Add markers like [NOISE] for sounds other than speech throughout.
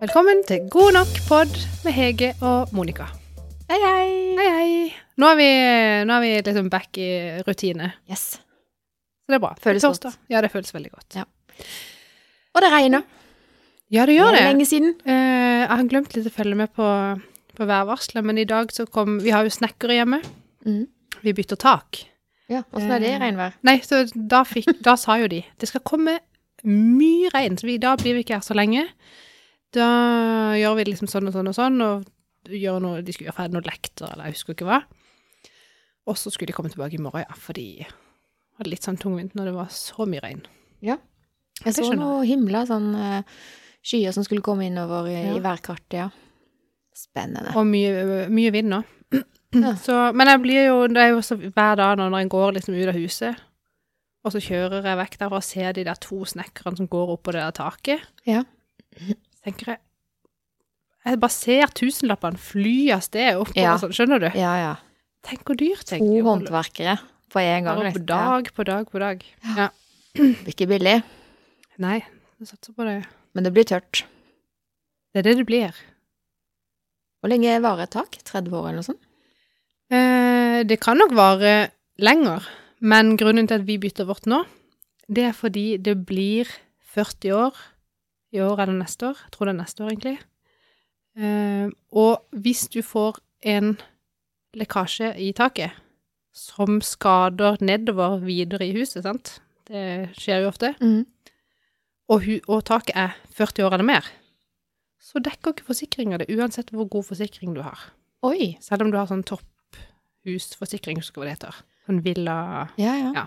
Velkommen til God nok pod med Hege og Monica. Hei, hei. Hei, hei. Nå er vi, nå er vi liksom back i rutine, Yes. så det er bra. Føles godt. Torsdag. Ja, det føles veldig godt. Ja. Og det regner. Ja, det gjør er det. lenge siden. Eh, jeg har glemt litt å følge med på, på værvarselet, men i dag så kom Vi har jo snekkere hjemme. Mm. Vi bytter tak. Ja, Åssen er det i regnvær? Nei, så da, fikk, da sa jo de det skal komme mye regn, så vi, da blir vi ikke her så lenge. Da gjør vi liksom sånn og sånn og sånn, og gjør noe, de skulle gjøre ferdig noen lekter, eller jeg husker ikke hva. Og så skulle de komme tilbake i morgen, ja, for de hadde litt sånn tungvint når det var så mye regn. Ja. Jeg så skjønner noe himla, sånn eh, skyer som skulle komme innover i, Ja. i værkartet, ja. Spennende. [LAUGHS] Og mye, mye vind nå. [CLEARS THROAT] Ja. Så, men jeg blir jo, det er jo så, hver dag når jeg går liksom ut av huset, og så kjører jeg vekk der og ser de der to snekkerne som går opp på det der taket. Ja. Tenker jeg, jeg bare ser tusenlappene fly av sted opp, Ja. og sånn, skjønner du? Ja, ja. Tenk hvor dyrt, tenker To jeg. håndverkere på én gang. Bare På nesten. Ja, dag, på dag, på dag. Ja. det blir ikke billig, Nei, jeg satser på det. men det blir tørt. Det er det det blir. Hvor lenge varer et tak? 30 år eller noe sånt? Eh, det kan nok vare lenger, men grunnen til at vi bytter vårt nå, det er fordi det blir 40 år i år eller neste år. Jeg tror det er neste år, egentlig. Eh, og hvis du får en lekkasje i taket som skader nedover videre i huset, sant? Det skjer jo ofte. Og, hu og taket er 40 år eller mer. Så dekker ikke forsikringa det, uansett hvor god forsikring du har. Oi. Selv om du har sånn topphusforsikring, husker jeg hva det heter. Sånn villa Ja, ja. Ja.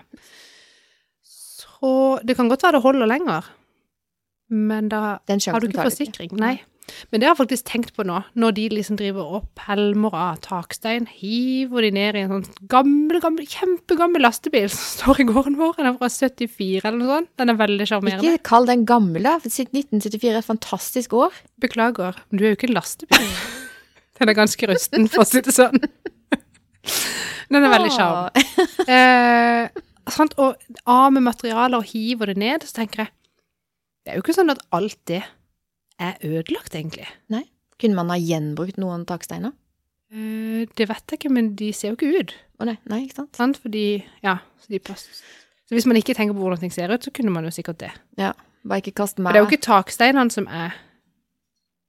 Så det kan godt være det holder lenger, men da Den sjansen har du ikke tar ikke. forsikring. Nei. Men det har jeg faktisk tenkt på nå, når de liksom driver og pelmer av takstein, hiver de ned i en sånn gammel, gammel, kjempegammel lastebil som står i gården vår. Den er fra 74 eller noe sånt. Den er veldig sjarmerende. Ikke kall den gammel, da. for siden 1974 er et fantastisk år. Beklager, men du er jo ikke en lastebil. [LAUGHS] Den er ganske rusten, for å si det sånn. [LAUGHS] Den er veldig sjarm. Ah. Eh, sant? Og av med materialer og hiver det ned, så tenker jeg Det er jo ikke sånn at alt det er ødelagt, egentlig. Nei. [LAUGHS] Kunne man ha gjenbrukt noen taksteiner? Eh, det vet jeg ikke, men de ser jo ikke ut. Å nei, nei, ikke sant? Sant? Fordi Ja, så de passer. Så hvis man ikke tenker på hvordan ting ser ut, så kunne man jo sikkert det. Ja, bare ikke kast For mer. det er jo ikke taksteinene som er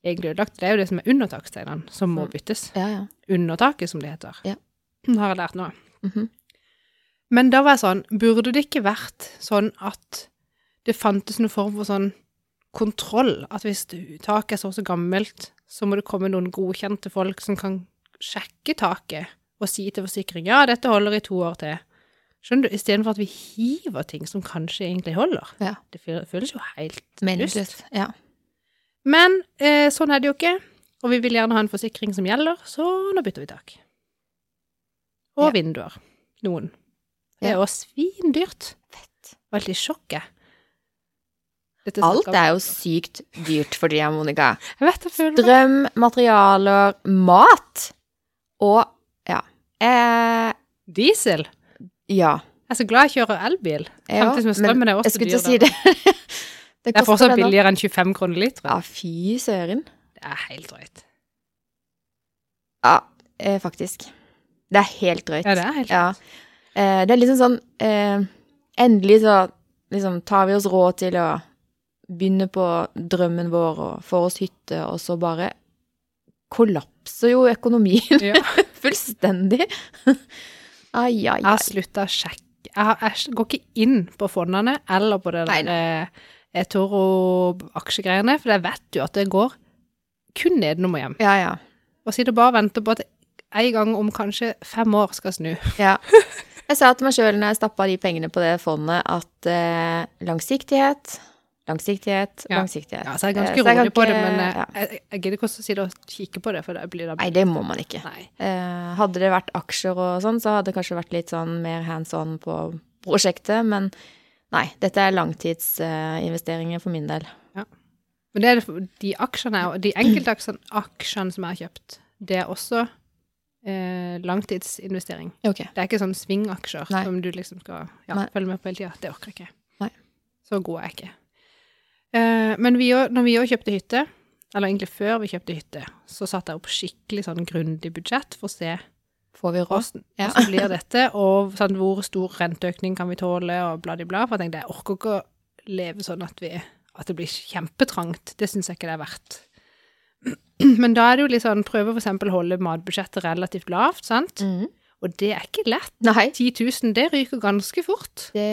egentlig ødelagt, det er jo det som er under taksteinene, som må Mm. byttes. Ja, ja. Under taket, som det heter. Ja. Har jeg lært nå. Mhm. Men da var jeg sånn, burde det ikke vært sånn at det fantes noen form for sånn kontroll, at hvis du- taket er så og så gammelt, så må det komme noen godkjente folk som kan sjekke taket og si til forsikring, ja, dette holder i to år til. Skjønner du? I stedet for at vi hiver ting som kanskje egentlig holder. Ja. Det fø- føles jo helt Meningsløst. dust. Ja. Men eh, sånn er det jo ikke, og vi vil gjerne ha en forsikring som gjelder, så nå bytter vi tak. Og Ja. vinduer. Noen. Det er Ja. jo svindyrt. Fett. Var helt i sjokket. Dette Alt snakket- er jo sykt dyrt for deg, Monica. Jeg vet, jeg føler det. Drøm, materialer, mat og ja. Eh, Diesel. ja. Jeg er så glad jeg kjører elbil. ja. Samtidig som strømmen er også jeg skulle til dyr, å si da. det. [LAUGHS] Det er fortsatt koster det nå. billigere enn 25 kroner literen. Ja, fy søren. Det er helt drøyt. Ja, eh, faktisk. Det er helt drøyt. Ja, det er helt Ja. Eh, det er liksom sånn eh, Endelig så liksom tar vi oss råd til å begynne på drømmen vår og får oss hytte, og så bare kollapser jo økonomien [LAUGHS] Ja. fullstendig. [LAUGHS] ai, ai, Jeg ai. har slutta å sjekke. Jeg, har, jeg går ikke inn på fondene eller på det Nei, der eh, Toro-aksjegreiene, for jeg vet jo at det går kun nedenom og hjem. Ja, ja. Og sitter bare og venter på at en gang om kanskje fem år skal snu. ja. Jeg sa til meg sjøl når jeg stappa de pengene på det fondet, at eh, langsiktighet, langsiktighet, Ja. langsiktighet. Ja, så jeg er Eh, ganske jeg kan rolig på det, ikke- men eh, ja. jeg, jeg gidder ikke også å si det og kikke på det, for det blir da Nei, det må man ikke. Nei. Eh, hadde det vært aksjer og sånn, så hadde det kanskje vært litt sånn mer hands on på prosjektet, men nei, dette er langtidsinvesteringer for min del. Men det er det, for- de aksjene, og de enkelte aksjene, aksjene som jeg har kjøpt, det er også eh, langtidsinvestering. Ok. Det er ikke sånn svingaksjer Nei. som du liksom skal ja, Nei. følge med på hele tida. Det orker jeg ikke. Nei. Så god er jeg ikke. Eh, men vi òg, når vi òg kjøpte hytte, eller egentlig før vi kjøpte hytte, så satte jeg opp skikkelig sånn grundig budsjett for å se Får vi råd? hvordan Ja. hvordan blir dette, og sånn, hvor stor renteøkning kan vi tåle, og bla, di, bla. For jeg tenkte, jeg orker ikke å leve sånn at, vi, at det blir kjempetrangt. Det syns jeg ikke det er verdt. [CLEARS THROAT] Men da er det jo litt sånn, prøve for eksempel å holde matbudsjettet relativt lavt, sant? Mm. Og det er ikke lett. Nei. 10 000, det ryker ganske fort. Det,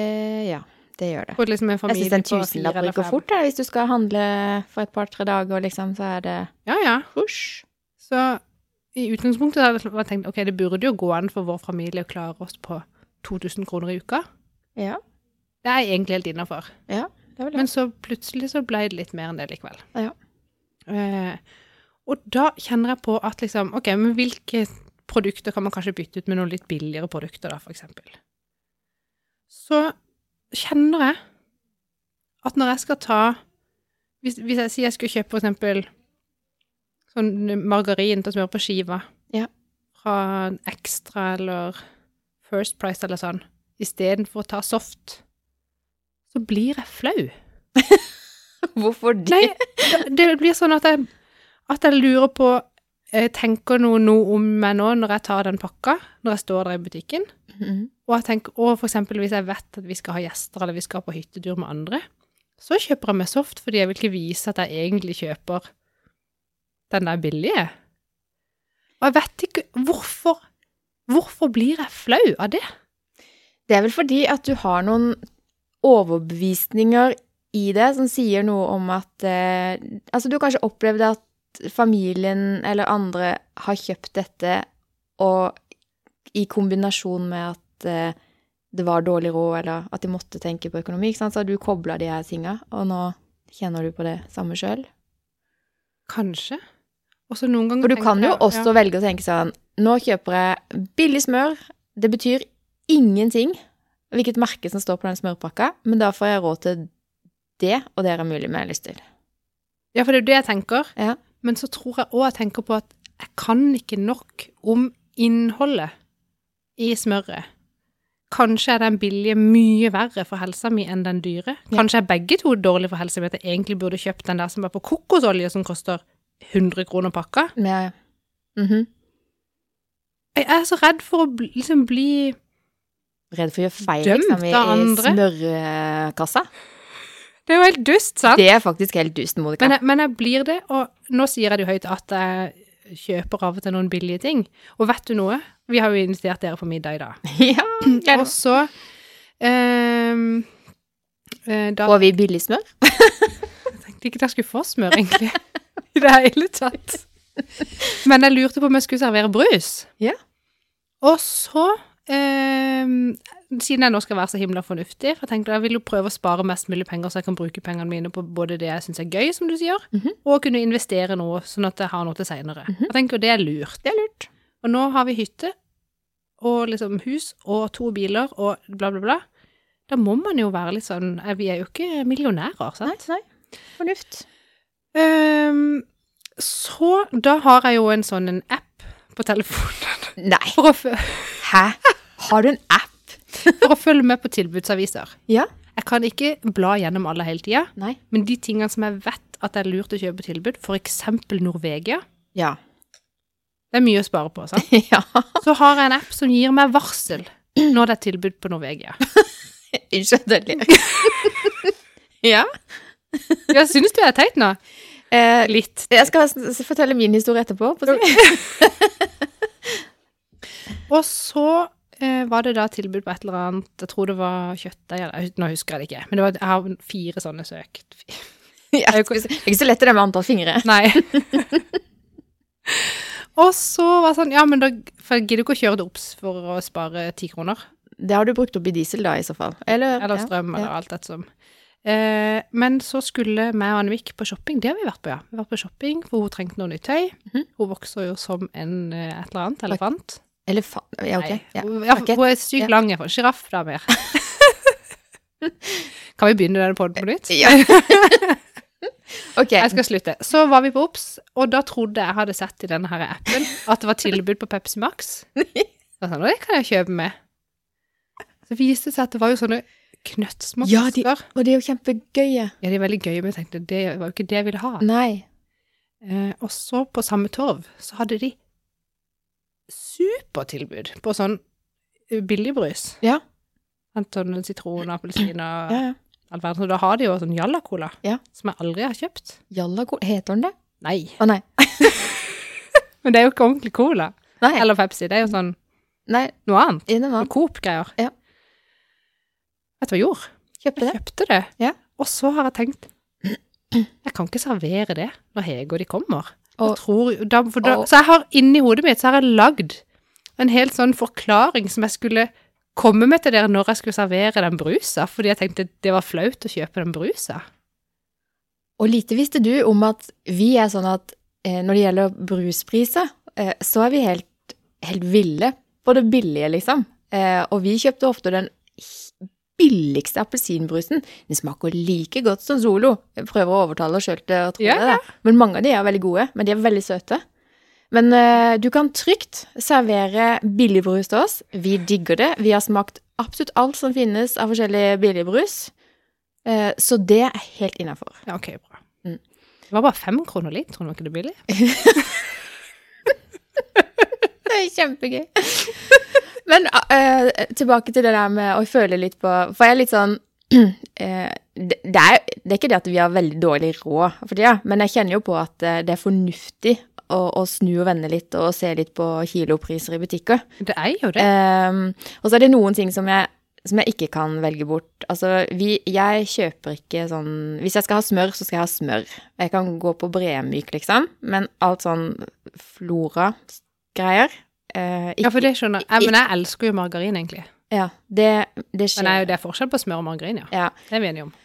ja, det gjør det. For liksom en Jeg familie syns en på fire tusenlapp eller rykker fem. fort da, hvis du skal handle for et par-tre dager, liksom, så er det Ja, ja. husj. Så i utgangspunktet hadde jeg tenkt, ok, det burde jo gå an for vår familie å klare oss på 2000 kroner i uka. Ja, Det er jeg egentlig helt innenfor. det var det. Men så plutselig så ble det litt mer enn det likevel. Ja. Eh, og da kjenner jeg på at liksom, ok, men hvilke produkter kan man kanskje bytte ut med noen litt billigere produkter da, for eksempel? Så kjenner jeg at når jeg skal ta, hvis, hvis jeg sier jeg skulle kjøpe for eksempel sånn margarin til å smøre på skiva, Ja. fra Extra eller First Price eller sånn, i stedet for å ta soft, så blir jeg flau. [LAUGHS] Hvorfor det? Nei, det, det blir sånn at jeg, at jeg lurer på jeg Tenker noe, noe om meg nå når jeg tar den pakka, når jeg står der i butikken? Mhm. Og jeg tenker, og for eksempel hvis jeg vet at vi skal ha gjester, eller vi skal på hyttetur med andre, så kjøper jeg meg soft fordi jeg vil ikke vise at jeg egentlig kjøper den der billige. Og jeg vet ikke hvorfor Hvorfor blir jeg flau av det? Det er vel fordi at du har noen overbevisninger i det som sier noe om at eh, Altså, du har kanskje opplevd at familien eller andre har kjøpt dette, og i kombinasjon med at eh, det var dårlig råd, eller at de måtte tenke på økonomi, ikke sant? så har du kobla de her tinga, og nå kjenner du på det samme sjøl. Kanskje. Og så noen ganger For du tenker kan jo jeg- også ja. velge å tenke sånn Nå kjøper jeg billig smør. Det betyr ingenting hvilket merke som står på den smørpakka, men da får jeg råd til det, og det er det mulig med lyst til. Ja, for det er jo det jeg tenker. Ja. Men så tror jeg òg jeg tenker på at jeg kan ikke nok om innholdet i smøret. Kanskje er den billige mye verre for helsa mi enn den dyre. Ja. Kanskje er begge to dårlig for helsa mi, at jeg egentlig burde kjøpt den der som er på kokosolje, som koster 100 kroner pakka. Men jeg, Mhm. Jeg er så redd for å bli, liksom bli Redd for å gjøre feil Dømt liksom, i, av i andre. smørkassa. Det er jo helt dust, sant? Det er faktisk helt dust, Monica. Men jeg, men jeg blir det, og nå sier jeg det jo høyt at jeg kjøper av og til noen billige ting. Og vet du noe? Vi har jo invitert dere på middag i dag. [LAUGHS] [CLEARS THROAT] ja, Og så ehm, eh, Da Får vi billig smør? jeg tenkte ikke at jeg skulle få smør, egentlig. [LAUGHS] I det hele tatt. Men jeg lurte på om jeg skulle servere brus. Ja. Og så ehm, Siden jeg nå skal være så himla fornuftig, for jeg tenkte jeg vil jo prøve å spare mest mulig penger, så jeg kan bruke pengene mine på både det jeg syns er gøy, som du sier, Mhm. og kunne investere noe, sånn at jeg har noe til seinere. Mhm. Jeg tenker det er lurt. Det er lurt. Og nå har vi hytte og liksom hus og to biler og bla, bla, bla. Da må man jo være litt sånn eh, Vi er jo ikke millionærer, sant? Nei, nei. Fornuft. Ehm, så da har jeg jo en sånn en app på telefonen [LAUGHS] Nei. for å, fø- Hæ? Har du en app? for å følge med på tilbudsaviser. Ja. Jeg kan ikke bla gjennom alle hele tida, Nei. men de tingene som jeg vet at det er lurt å kjøpe på tilbud, f.eks. Norvegia Ja. [LAUGHS] Det er mye å spare på, sant? ja. Så har jeg en app som gir meg varsel når det er tilbud på Norvegia. Unnskyld at jeg ler. [LAUGHS] [LAUGHS] ja. Ja, syns du jeg er teit nå? Eh, Litt. jeg skal s- s- fortelle min historie etterpå. på å si. Og så eh, var det da tilbud på et eller annet, jeg tror det var kjøttdeig, eller jeg hus- nå husker jeg det ikke, men det var, jeg har fire sånne søk. [LAUGHS] Ja, det er ikke så lett det der med antall fingre. Nei. [LAUGHS] og så var det sånn, ja, men da for jeg gidder ikke å kjøre det opps for å spare ti kroner, Det har du brukt opp i diesel, da, i så fall. Eller, eller strøm, eller alt dette som. Eh, men så skulle meg og Annevik på shopping, det har vi vært på, ja. Vi har vært på shopping, for hun trengte noe nytt tøy. Mhm. Hun vokser jo som en eh, et eller annet, elefant. Ja. Eller faen Ja, ok. Ja. Hun, ja, rakett. hun er sykt Ja. lang, jeg får en sjiraff da mer. kan vi begynne den podden på nytt? [LAUGHS] Ja. [LAUGHS] OK. Jeg skal slutte. Så var vi på OBS, og da trodde jeg hadde sett i denne her appen at det var tilbud på Pepsi [LAUGHS] Max. Da sa han, «Å, det kan jeg kjøpe med. Så viste det seg at det var jo sånne knøttsmå Ja, de- flasker. Og det er jo kjempegøye. Ja, de er veldig gøye, men jeg tenkte, det var jo ikke det jeg ville ha. Nei. Eh, og så på samme torv, så hadde de supertilbud på sånn billigbrys. Ja. Sant, Sånn sitron, appelsin og Ja, ja. all verden. Så da har de jo sånn Jalla-cola, Ja. som jeg aldri har kjøpt. Jallako Heter den det? Nei. Å nei. Men det er jo ikke ordentlig cola. Nei. Eller Pepsi. Det er jo sånn nei. noe annet. Er det noe Noe annet? Coop-greier. Ja. Vet du hva jeg gjorde? Jeg Kjøpte det? kjøpte det. Ja. Og så har jeg tenkt Jeg kan ikke servere det når Hege og de kommer. Og- Og, tror, jo- da, for da, og- så jeg har inni hodet mitt så har jeg lagd en helt sånn forklaring som jeg skulle komme med til dere når jeg skulle servere den brusa, fordi jeg tenkte det var flaut å kjøpe den brusa. Og lite visste du om at vi er sånn at eh, når det gjelder bruspriser, eh, så er vi helt, helt ville på det billige, liksom. Eh, og vi kjøpte ofte den billigste appelsinbrusen. Den smaker like godt som Zolo. Jeg prøver å overtale oss sjøl til å tro Ja, det. Da. Men mange av de er veldig gode, men de er veldig søte. Men eh, du kan trygt servere billigbrus til oss. Vi digger det. Vi har smakt absolutt alt som finnes av forskjellig billigbrus. Eh, så det er helt innafor. Ja, ok, bra. Mm. Det var bare fem kroner literen, var ikke det billig? Det er kjempegøy. Men eh, tilbake til det der med å føle litt på For jeg er litt sånn [CLEARS THROAT] eh, det, det, er, det er ikke det at vi har veldig dårlig råd for tida, men jeg kjenner jo på at eh, det er fornuftig å, å snu og vende litt og se litt på kilopriser i butikker. Det er jo det. Ehm, og så er det noen ting som jeg, som jeg ikke kan velge bort. Altså, vi, jeg kjøper ikke sånn Hvis jeg skal ha smør, så skal jeg ha smør. Jeg kan gå på bremyk, liksom, men alt sånn flora-greier eh, Ja, for ikke, det skjønner jeg. Men jeg elsker jo margarin, egentlig. ja, det, det Men det er skjer. jo det er forskjell på smør og margarin, ja. Ja. Det er vi enige om.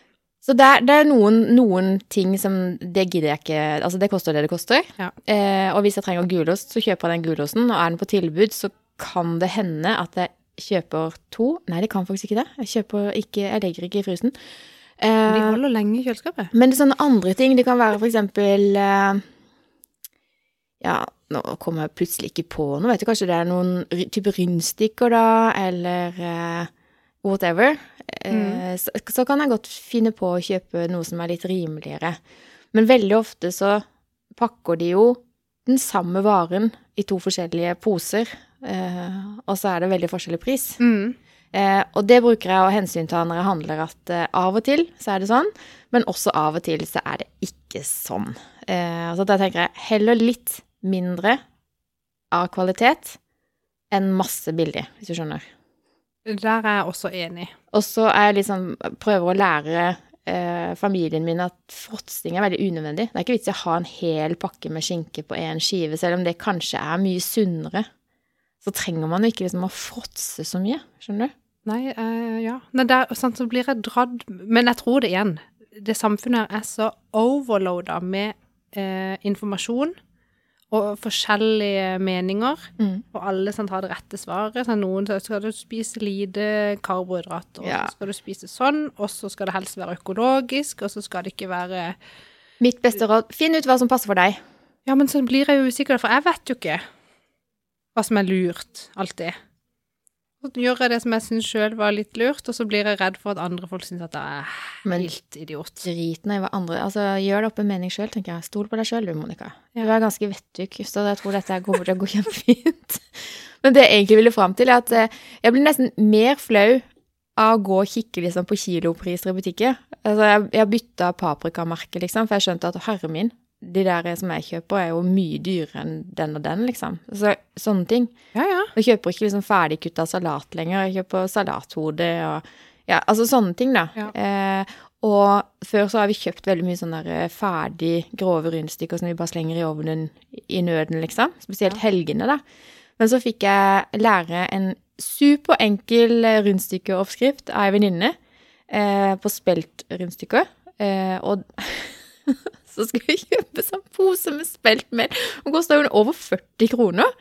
Så det er, det er noen, noen ting som Det gidder jeg ikke Altså, det koster det det koster. Ja. Eh, og hvis jeg trenger gulost, så kjøper jeg den gulosten. Og er den på tilbud, så kan det hende at jeg kjøper to. Nei, det kan faktisk ikke det. Jeg kjøper ikke Jeg legger ikke i frysen. De Eh, holder lenge i kjøleskapet. men det er sånne andre ting. Det kan være for eksempel eh, Ja, nå kommer jeg plutselig ikke på noe. Vet du, kanskje det er noen ry- type rundstykker, da, eller eh, whatever. Eh, så, så kan jeg godt finne på å kjøpe noe som er litt rimeligere. Men veldig ofte så pakker de jo den samme varen i to forskjellige poser, eh, og så er det veldig forskjellig pris. Mm. Eh, og det bruker jeg å hensynta når jeg handler, at eh, av og til så er det sånn, men også av og til så er det ikke sånn. Eh, så da tenker jeg heller litt mindre av kvalitet enn masse billig, hvis du skjønner. Der er jeg også enig. Og så er jeg liksom, prøver å lære eh, familien min at fråtsing er veldig unødvendig. Det er ikke vits i å ha en hel pakke med skinke på én skive, selv om det kanskje er mye sunnere. Så trenger man jo ikke liksom å fråtse så mye, skjønner du? Nei, eh, ja. Nei, der, sant, så blir jeg dradd Men jeg tror det igjen. Det samfunnet her er så overloada med eh, informasjon og forskjellige meninger, Mm. og alle sant, har det rette svaret. Sant, noen sier skal du spise lite karbohydrater, og Ja. så skal du spise sånn, og så skal det helst være økologisk, og så skal det ikke være Mitt beste råd finn ut hva som passer for deg. Ja, men så blir jeg jo usikker, for jeg vet jo ikke hva som er lurt, alltid. Så gjør jeg det som jeg syns sjøl var litt lurt, og så blir jeg redd for at andre folk syns at jeg er Men- helt idiot. Drit nå i hva andre altså, Gjør deg opp en mening sjøl, tenker jeg. Stol på deg sjøl, du, Monica. Du er ganske vettug, så jeg tror dette her kommer til å gå [LAUGHS] kjempefint. Men det jeg egentlig ville fram til, er at eh, jeg blir nesten mer flau av å gå og kikke liksom, på kilopriser i butikker. Altså, jeg, jeg bytta paprikamerke, liksom, for jeg skjønte at herre min, de der som jeg kjøper, er jo mye dyrere enn den og den, liksom. Så, sånne ting. Ja, ja. Jeg kjøper ikke liksom ferdigkutta salat lenger. Jeg kjøper salathode og ja, altså sånne ting, da. Ja. Eh, og før så har vi kjøpt veldig mye sånne der eh, ferdig grove rundstykker som vi bare slenger i ovnen i nøden, liksom. Spesielt helgene, da. Men så fikk jeg lære en superenkel rundstykkeoppskrift av ei venninne eh, på speltrundstykker. Eh, og [LAUGHS] så skulle jeg kjøpe sånn pose med speltmel. Den kosta jo over 40 kroner.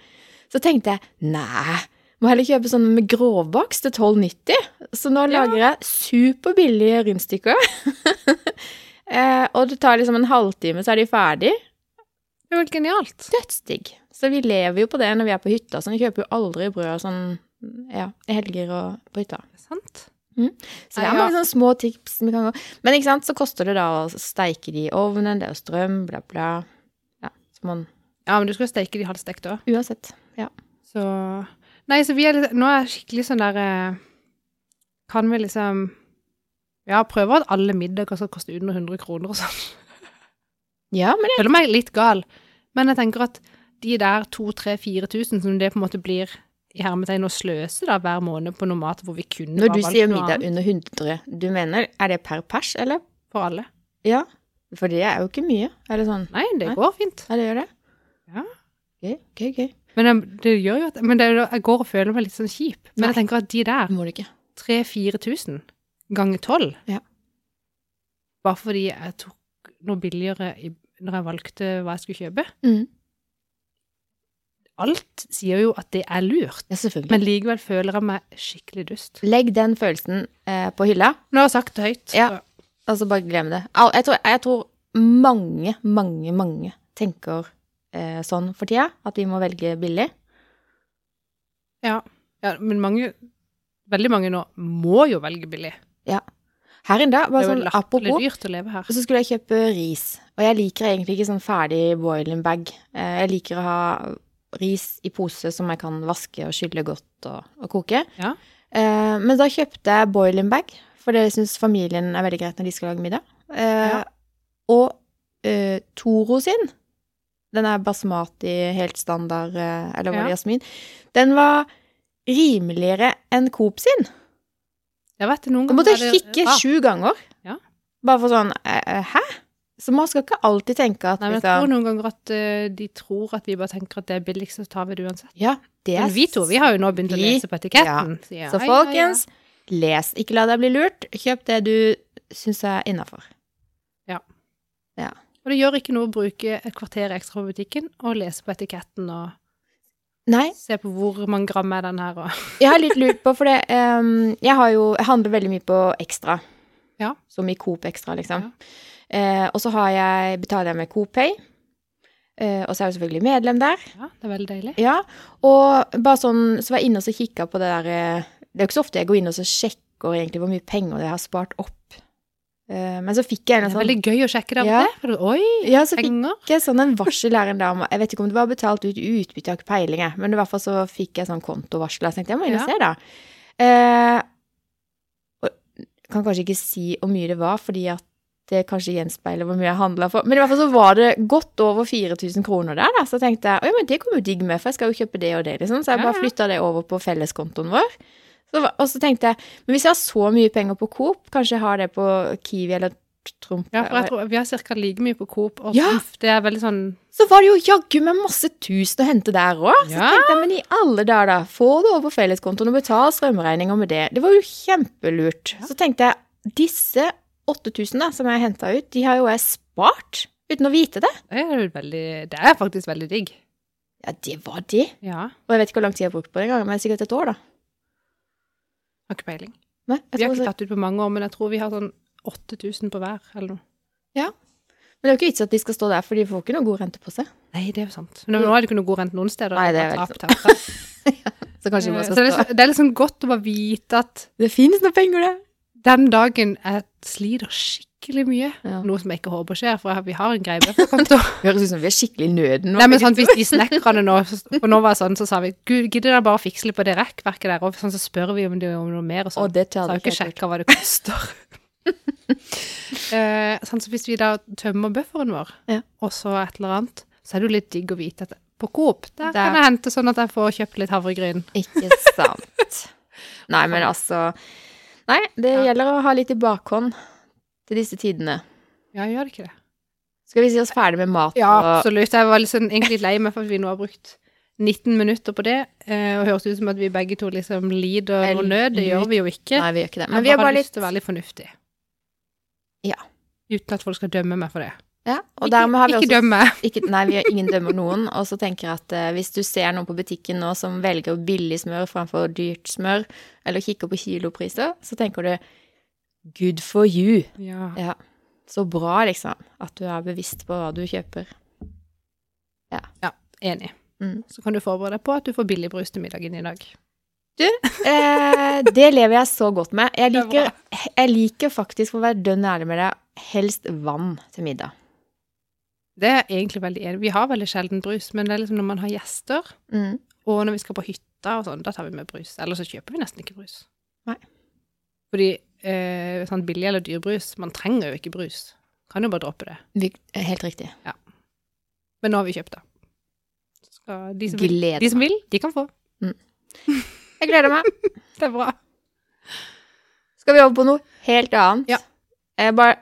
Så tenkte jeg nei, må heller kjøpe sånn med grovbakst til 12,90. Så nå lager jeg superbillige rundstykker. [LAUGHS] Eh, og det tar liksom en halvtime, så er de ferdig. Det er jo helt genialt. Dødsdigg. Så vi lever jo på det når vi er på hytta. Sånn. Vi kjøper jo aldri brød og sånn ja, i helger og på hytta. Det er sant. Så det er Ja. mange sånne små tips vi kan gå Men ikke sant, så koster det da å steike de i ovnen, det er jo strøm, bla, bla. Ja, så man Ja, men du skal jo steke de halvstekte òg. Uansett. Ja. Så Nei, så vi er litt Nå er jeg skikkelig sånn der eh, Kan vi liksom Ja, prøver at alle middager skal koste under 100 kroner og sånn. ja, men det, Føler meg litt gal. Men jeg tenker at de der 2000-4000 som det på en måte blir i hermetegn å sløse da hver måned på noe mat hvor vi kunne når du bare valgt sier noe middag annet under 100, du mener er det per pers, eller? for alle Ja. For det er jo ikke mye. Er det sånn? Nei, det Nei. går fint. Ja, det gjør det? Ja. Gøy, gøy, gøy. Men jeg, det gjør jo at Men det, er jo- jeg går og føler meg litt sånn kjip. Men jeg tenker at de der Det må du ikke. 3000-4000 ganger 12. Ja. Bare fordi jeg tok noe billigere i, når jeg valgte hva jeg skulle kjøpe. Mm. Alt sier jo at det er lurt, Ja, selvfølgelig. men likevel føler jeg meg skikkelig dust. Legg den følelsen eh, på hylla, Nå har jeg sagt det høyt. Ja. altså bare glem det. Al- Jeg tror, jeg tror mange, mange, mange tenker eh, sånn for tida, at vi må velge billig. Ja. ja, men mange, veldig mange nå må jo velge billig. Her en dag, Det bare er jo sånn latterlig apropos, dyrt å leve her. så skulle jeg kjøpe ris. Og jeg liker egentlig ikke sånn ferdig boiling bag. Eh, Jeg liker å ha ris i pose som jeg kan vaske og skylle godt og, og koke. Ja. Eh, Men da kjøpte jeg boiling bag, for det syns familien er veldig greit når de skal lage middag. Eh, Ja. Og eh, Toro sin, den er basmati, helt standard, eh, eller var Ja. det jasmin, den var rimeligere enn Coop sin. Jeg vet det noen Jeg måtte er det Ah. kikke rart. sju ganger. Ja. Bare for sånn eh, eh, Hæ? Så man skal ikke alltid tenke at Nei, men jeg liksom, tror noen ganger at eh, de tror at vi bare tenker at det er billigst, så tar vi det uansett. Ja, det er Men vi to, vi har jo nå begynt å vi- lese på etiketten. sier jeg. Ja, Så ja, ja. folkens, les. Ikke la deg bli lurt. Kjøp det du syns er innafor. Og det gjør ikke noe å bruke et kvarter ekstra på butikken og lese på etiketten og Nei, se på hvor mange gram er den her og jeg har litt lurt på, for det em, Jeg har jo Jeg handler veldig mye på Ekstra. Ja. Som i Coop Ekstra, liksom. Eh, og så har jeg, betaler jeg med Coop Pay. Eh, og så er jeg jo selvfølgelig medlem der. Ja, det er veldig deilig. Ja, og bare sånn, så var jeg inne og så kikka på det der eh, Det er jo ikke så ofte jeg går inn og så sjekker egentlig hvor mye penger jeg har spart opp. Eh, Men så fikk jeg Det en er sånn veldig gøy å sjekke det av og Ja. til. for du- Oi, ja, så fikk penger! jeg [LAUGHS] sånn en varsel her en dag om Jeg vet ikke om det var betalt ut i utbytte, jeg har ikke peiling, jeg. Men i hvert fall så fikk jeg sånn kontovarsel. Jeg tenkte jeg må inn og Ja. se, da. Eh, og jeg kan kanskje ikke si hvor mye det var, fordi at det kanskje gjenspeiler hvor mye jeg handla for. Men i hvert fall så var det godt over 4000 kroner der, da. Så tenkte jeg oi, men det kommer jo digg med, for jeg skal jo kjøpe det og det, liksom. Så jeg Ja, bare ja. flytta det over på felleskontoen vår. Så, var- og så tenkte jeg, men hvis jeg har så mye penger på Coop, kanskje jeg har det på Kiwi eller Trump Ja, for jeg tror vi har ca. like mye på Coop, og Ja. uff, det er veldig sånn så var det jo jaggu meg masse tusen å hente der òg. Så Ja. tenkte jeg, men i alle dager, da. Få det over på felleskontoen og betal strømregninga med det. Det var jo kjempelurt. Så tenkte jeg, disse 8000 da, som jeg henta ut, de har jo jeg spart uten å vite det. Det er, jo veldig, det er faktisk veldig digg. Ja, det var de. Ja. Og jeg vet ikke hvor lang tid jeg har brukt på det engang, men sikkert et år, da. Har ikke peiling. Nei, jeg Vi har tror ikke så- tatt ut på mange år, men jeg tror vi har sånn 8000 på hver, eller noe. Men det er jo ikke vits at de skal stå der, for de får ikke noe god rente på seg. Nei, det er jo sant. Men nå er det ikke noe god rente noen steder. Nei, det er bare veldig tap, tap, tap. [LAUGHS] Eh, Så sånn- kanskje de bare Så skal det er stå liksom- det er liksom godt å bare vite at Det finnes noe penger, det. den dagen jeg sliter skikkelig mye, Ja. noe som jeg ikke håper skjer, for vi har en grei bufferkonto. [LAUGHS] Høres ut som vi er skikkelig i nøden nå. Nei, men sånn, hvis de snekkerne nå For nå var det sånn, så sa vi Gud, gidder dere bare å fikse litt på det rekkverket der? Og sånn, så spør vi om det er noe mer og Å, sånn. det Så tør har du jo ikke sjekka hva det koster. [LAUGHS] eh, sånn, så hvis vi da tømmer bufferen vår, Ja. og så et eller annet, så er det jo litt digg å vite at på Coop der, Der. kan jeg hente sånn at jeg får kjøpt litt havregryn. Ikke sant. [LAUGHS] Nei, men altså Nei, det Ja. gjelder å ha litt i bakhånd til disse tidene. Ja, gjør det ikke det? Skal vi si oss ferdig med mat? Ja, og, absolutt. Jeg var liksom egentlig litt lei meg for at vi nå har brukt 19 minutter på det, eh, og høres ut som at vi begge to liksom lider Vel, noe nød. Det gjør vi jo ikke. Nei, vi gjør ikke det. Men jeg Men vi bare er bare har lyst litt til å være litt fornuftig. Ja. Uten at folk skal dømme meg for det. ja, og dermed har vi ikke også, ikke dømme. [LAUGHS] Ikke, nei, vi har ingen dømmer noen. Og så tenker jeg at eh, hvis du ser noen på butikken nå som velger billig smør framfor dyrt smør, eller kikker på kilopriser, så tenker du good for you. Ja. Ja. Så bra, liksom, at du er bevisst på hva du kjøper. Enig. Mm. Så kan du forberede deg på at du får billig brus til middagen i dag. Eh, det lever jeg så godt med. Jeg Det er liker, jeg liker faktisk, for å være dønn ærlig med deg, helst vann til middag. Det er jeg egentlig veldig enig. Vi har veldig sjelden brus, men det er liksom når man har gjester, Mm. og når vi skal på hytta og sånn, da tar vi med brus. Ellers så kjøper vi nesten ikke brus. Nei. Fordi eh, sånn billig eller dyr brus, man trenger jo ikke brus. Kan jo bare droppe det. Vi- eh, Helt riktig. Men nå har vi kjøpt det. Så Skal, de, som vil, Gleder de som vil, de kan få. Jeg gleder meg. Det er bra. Skal vi over på noe helt annet? Ja. Jeg, bare,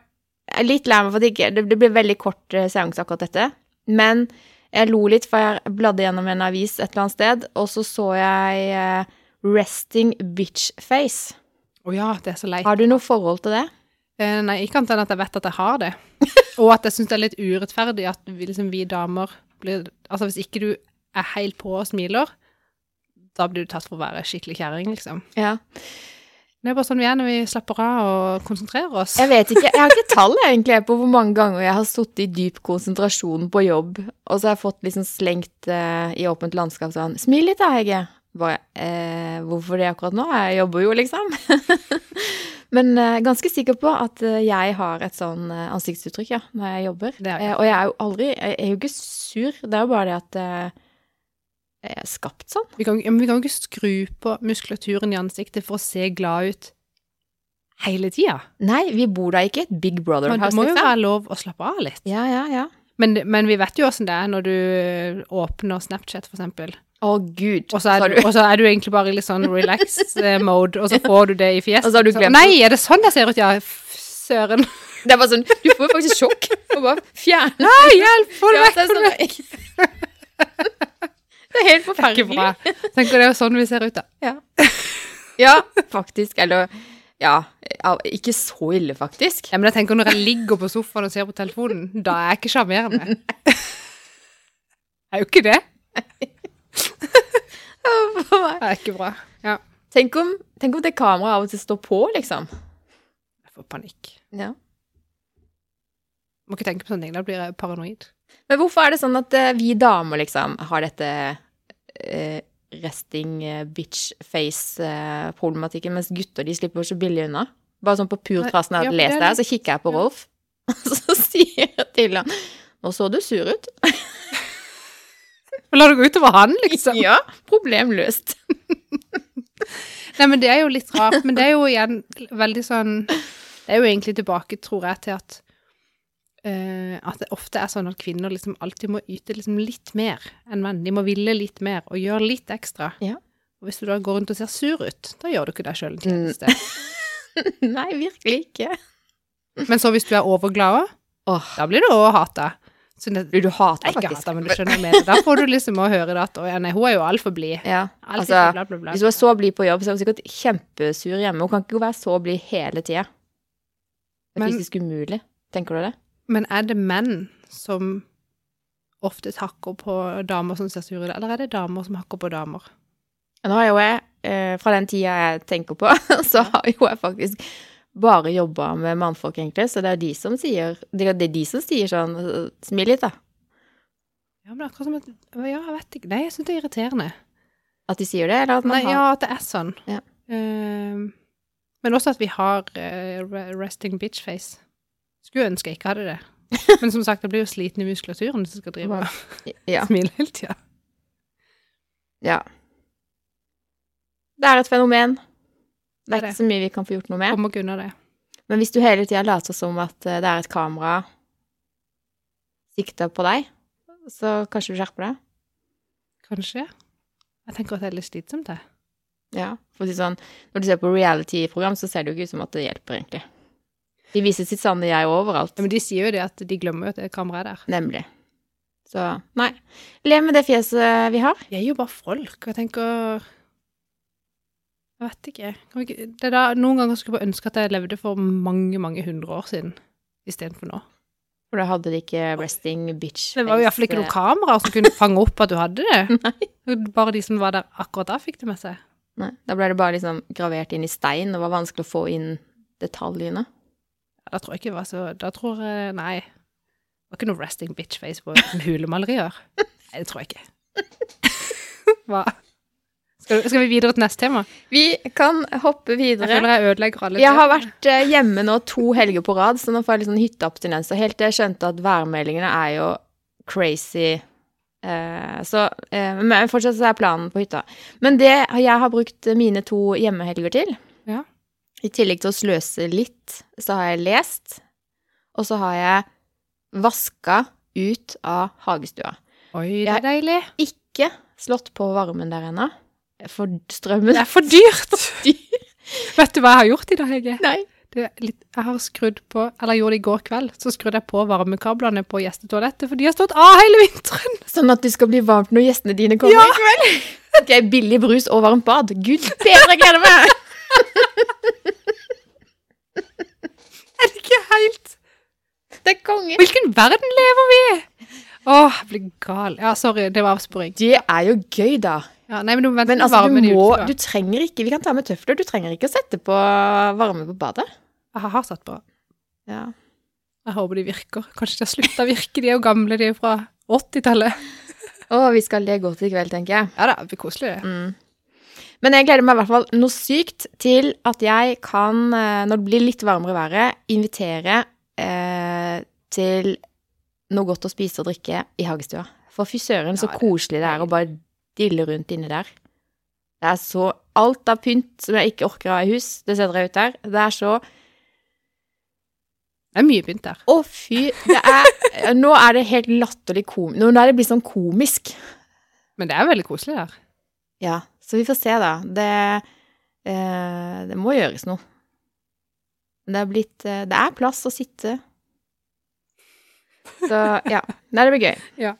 jeg er litt lei meg for at det ikke det, det blir veldig kort eh, seanse akkurat dette. Men jeg lo litt, for jeg bladde gjennom en avis et eller annet sted, og så så jeg eh, Resting Bitch Face. Å ja, det er så leit. Har du noe forhold til det? Eh, nei, ikke annet enn at jeg vet at jeg har [LAUGHS] det. Og at jeg syns det er litt urettferdig at vi, liksom, vi damer blir Altså, hvis ikke du er helt på og smiler, da blir du tatt for å være skikkelig kjerring, liksom. Ja. Det er bare sånn vi er når vi slapper av og konsentrerer oss. Jeg vet ikke, jeg har ikke tall jeg, egentlig på hvor mange ganger jeg har sittet i dyp konsentrasjon på jobb, og så har jeg fått liksom slengt eh, i åpent landskap sånn, smil litt da, Hege. Bare, eh, hvorfor det akkurat nå? Jeg jobber jo liksom. [LAUGHS] Men eh, ganske sikker på at eh, jeg har et sånn eh, ansiktsuttrykk, ja, når jeg jobber. Det er jeg. Eh, og jeg er jo aldri, jeg er jo ikke sur, det er jo bare det at eh, jeg er skapt sånn. Vi kan, ja, men vi kan jo ikke skru på muskulaturen i ansiktet for å se glad ut hele tida. Nei, vi bor da ikke i et Big Brother Men Det house, må jo liksom. være lov å slappe av litt. Ja, ja, ja. Men, men vi vet jo åssen det er når du åpner Snapchat, for eksempel. Å Gud, Og så, er sa du, og så er du egentlig bare i litt sånn relaxed eh, mode, og så får du det i fjeset. Og så har du Sånn, glemt Nei, er det sånn jeg ser ut? Ja, f- søren. Det er bare sånn, du får jo faktisk sjokk. Og bare fjerne Nei, hjelp! Få det Ja, vekk! det, er sånn, det er helt [LAUGHS] Det er ikke bra. forferdelig. Tenk det er jo sånn vi ser ut, da. Ja, faktisk. Eller ja, ja, ikke så ille, faktisk. Ja, men jeg tenker når jeg ligger på sofaen og ser på telefonen, da er jeg ikke sjarmerende. [LAUGHS] er jo ikke det. Det er ikke bra. Ja. [LAUGHS] Tenk om, tenk om det kameraet av og til står på, liksom. Jeg får panikk. Ja. Må ikke tenke på sånne ting, da blir jeg paranoid. Men hvorfor er det sånn at eh, vi damer liksom har dette eh, resting eh, bitch face-problematikken, mens gutter de slipper så billig unna? Bare sånn på pur Nei, trass når jeg ja, hadde det lest er det her, så kikker jeg på ja. Rolf, [LAUGHS] og så sier jeg til han Nå så du sur [LAUGHS] ut. Men la det gå utover han, liksom. Ja, problem løst. Nei, men det er jo litt rart, men det er jo igjen veldig sånn Det er jo egentlig tilbake, tror jeg, til at eh, at det ofte er sånn at kvinner liksom alltid må yte liksom litt mer enn menn. De må ville litt mer og gjøre litt ekstra. Ja. Og hvis du da går rundt og ser sur ut, da gjør du ikke deg sjøl en tjeneste. [LAUGHS] Nei, virkelig ikke. Men så hvis du er overglad òg, Åh, da blir du òg hata. Så det, du, du hater Nei, faktisk. ikke hata, men du skjønner hva jeg mener. Da får du liksom å høre det at å ja, nei, hun er jo altfor blid. Ja, Alt altså, bla, bla, bla. hvis hun er så blid på jobb, så er hun sikkert kjempesur hjemme. Hun kan ikke være så blid hele tida. Det er Men- fysisk umulig. Tenker du det? Men er det menn som ofte takker på damer som ser sure ut, eller er det damer som hakker på damer? Nå har jo jeg, eh, fra den tida jeg tenker på, [LAUGHS] så har jo jeg faktisk bare jobba med mannfolk, egentlig. Så det er de som sier Det er det er de som sier sånn Smil litt, da. Ja, men det er akkurat som at Ja, jeg vet ikke. Nei, jeg syns det er irriterende. At de sier det, eller at man Nei, har ja, at det er sånn. Ja. Ehm, men også at vi har eh, re- resting bitch face. Skulle ønske jeg ikke hadde det. [LAUGHS] Men som sagt, jeg blir jo sliten i muskulaturen hvis jeg skal drive og ja. smile hele tida. ja. Det er et fenomen. Det Det er er det. ikke så mye vi kan få gjort noe med. Kommer ikke unna det. Men hvis du hele tida later som at eh, det er et kamera sikta på deg, så kanskje du skjerper deg? Kanskje. Jeg tenker at det er litt slitsomt, det. Ja. For å si sånn, når du ser på reality-program, så ser det jo ikke ut som at det hjelper, egentlig. De viser sitt sanne jeg overalt. Ja, men de sier jo det at de glemmer jo at det kameraet er der. Nemlig. Så nei. Lev med det fjeset vi har. Vi er jo bare folk, og jeg tenker Jeg vet ikke. Kan vi ikke det er da, noen ganger skulle jeg bare ønske at jeg levde for mange, mange hundre år siden istedenfor nå. For da hadde de ikke resting bitch. Det var jo face, iallfall ikke noen eh, kameraer som kunne fange opp at du hadde [LAUGHS] det. Bare de som var der akkurat da, fikk det med seg. eh, Nei, da ble det bare liksom gravert inn i stein. Det var vanskelig å få inn detaljene. Ja, Da tror jeg ikke det var så Da tror jeg Nei. Det var ikke noe resting bitch face på hulemalerier. Nei, det tror jeg ikke. [LAUGHS] Hva? Skal, du, skal vi videre til neste tema? Vi kan hoppe Jeg videre. føler jeg ødelegger alle. Jeg har vært eh, hjemme nå to helger på rad, så nå får jeg litt sånn hytteabstinenser. Helt til jeg skjønte at værmeldingene er jo crazy. Eh, så, eh, men fortsatt så er planen på hytta. Men det jeg har brukt mine to hjemmehelger til, Ja. i tillegg til å sløse litt, så har jeg lest, og så har jeg vaska ut av hagestua. Oi, det er deilig. Ikke slått på varmen der ennå, for strømmen Det er for dyrt! Vet du hva jeg har gjort i dag, Hege? [LAUGHS] Nei. Det er litt, jeg har skrudd på, eller gjorde det i går kveld, så skrudde jeg på varmekablene på gjestetoalettet, for de har stått av hele vinteren. [LAUGHS] Sånn at det skal bli varmt når gjestene dine kommer i kveld. [LAUGHS] Ok, billig brus og varmt bad. Gud bedre, jeg gleder meg! Er det ikke helt Det er konge. Hvilken verden lever vi i? Å, jeg blir gal. Ja, sorry, det var avsporing. Det er jo gøy, da. Ja, nei, men du må vente Men til altså, du varmen i må utstua. Du trenger ikke Vi kan ta med tøfler. Du trenger ikke å sette på varme på badet. Jeg har satt på. Ja. Jeg håper de virker. Kanskje de har slutta å virke, de er jo gamle, de er fra 80-tallet. Å, vi skal le godt i kveld, tenker jeg. Ja da, det blir koselig, det. Mm. Men jeg gleder meg i hvert fall noe sykt til at jeg kan, eh, når det blir litt varmere været, invitere eh, til noe godt å spise og drikke i hagestua. For fy søren, så Ja, det- koselig det er å bare dille rundt inni der. Det er så Alt av pynt som jeg ikke orker å ha i hus, det setter jeg ut der. Det er så Det er mye pynt der. Å, fy! Det er [LAUGHS] Nå er det helt latterlig komisk. Nå er det blitt sånn komisk. Men det er veldig koselig der. Ja, så vi får se, da. Det, eh, det må gjøres noe. Men Det er blitt eh, Det er plass å sitte. Så ja. Nei, det blir [LAUGHS] gøy. Ja.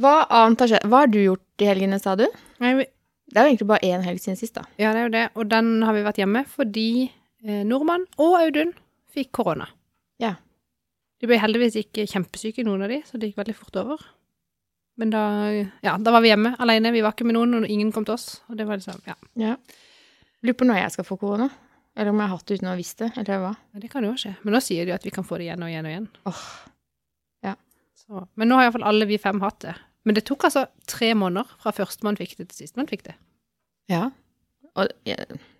Hva annet har skjedd? Hva har du gjort i helgene, sa du? Nei, vi- Det er jo egentlig bare én helg siden sist, da. Ja, det er jo det. Og den har vi vært hjemme fordi eh, nordmann og Audun fikk korona. Ja. De ble heldigvis ikke kjempesyke, noen av de, så det gikk veldig fort over. Men da, ja, da var vi hjemme alene. Vi var ikke med noen, og ingen kom til oss. Og det var liksom, ja, Lurer på når jeg skal få korona. Eller om jeg har hatt det uten å ha visst det, eller hva. men det kan jo skje. Men nå sier de at vi kan få det igjen og igjen og igjen. Åh, Så. Men nå har iallfall alle vi fem hatt det. Men det tok altså tre måneder fra førstemann fikk det til sistemann fikk det. ja. Og jeg,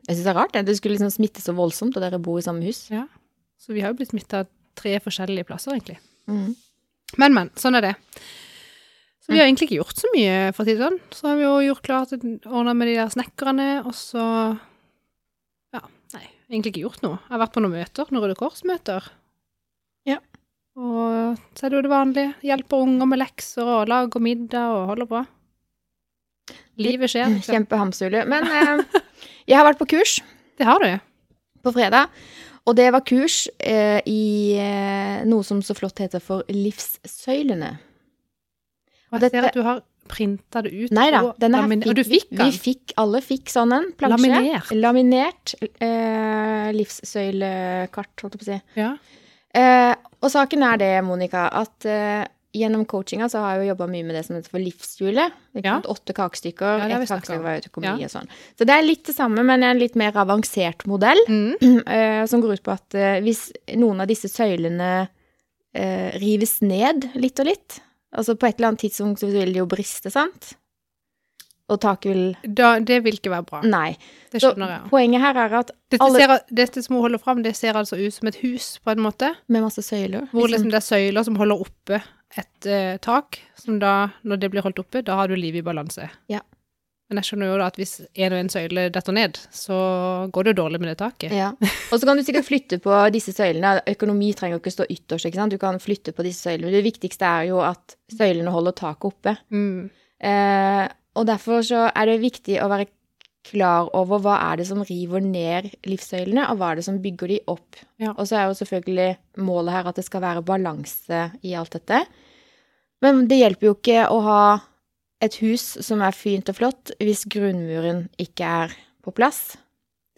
jeg syns det er rart, det. Det skulle liksom smitte så voldsomt, og dere bor i samme hus. Så vi har jo blitt smitta tre forskjellige plasser, egentlig. Mm. Men, men. Sånn er det. Så vi har egentlig ikke gjort så mye, for å si det sånn. Så har vi jo gjort klart ordna med de der snekkerne, og så Ja, nei, egentlig ikke gjort noe. Jeg har vært på noen møter, noen Røde Kors-møter. Ja. Og så er det jo det vanlige. Hjelper unger med lekser og lager middag og holder på. Livet skjer. liksom. Kjempehamsterhjul. Men eh, jeg har vært på kurs. Det har du. på fredag. Og det var kurs eh, i eh, noe som så flott heter for livssøylene. Og jeg Dette- ser at du har printa det ut. Nei da, og den her lamin- fikk, Og du fikk vi- den? Vi fikk, alle fikk sånn en plansje. Laminert. Laminert eh, livssøylekart, holdt jeg på å si. Ja. Eh, og saken er det, Monica, at eh, gjennom coachinga så har jeg jo jobba mye med det som heter for livshjulet. Ikke Ja. sant? Åtte kakestykker, Ja, det har vi ett snakket om. kakestykke var økonomi Ja. og sånn. Så det er litt det samme, men en litt mer avansert modell. Mm. [CLEARS THROAT] eh, som går ut på at eh, hvis noen av disse søylene eh, rives ned litt og litt, altså på et eller annet tidspunkt så vil det jo briste, sant? Og taket vil Da, det vil ikke være bra. Nei. Det Mm. Så skjønner jeg. poenget her er at Dette, alle- ser, dette som hun holder fram, det ser altså ut som et hus, på en måte. med masse søyler Hvor liksom, liksom det er søyler som holder oppe et eh, tak, som da, når det blir holdt oppe, da har du liv i balanse. Ja. Men jeg skjønner jo da at hvis en og en søyle detter ned, så går det jo dårlig med det taket. ja. Og så kan du sikkert flytte på disse søylene. Økonomi trenger jo ikke stå ytterst. ikke sant? Du kan flytte på disse søylene. Det viktigste er jo at søylene holder taket oppe. Mm. Eh, og derfor så er det viktig å være klar over hva er det som river ned livssøylene, og hva er det som bygger de opp. Ja. Og så er jo selvfølgelig målet her at det skal være balanse i alt dette. Men det hjelper jo ikke å ha et hus som er fint og flott, hvis grunnmuren ikke er på plass.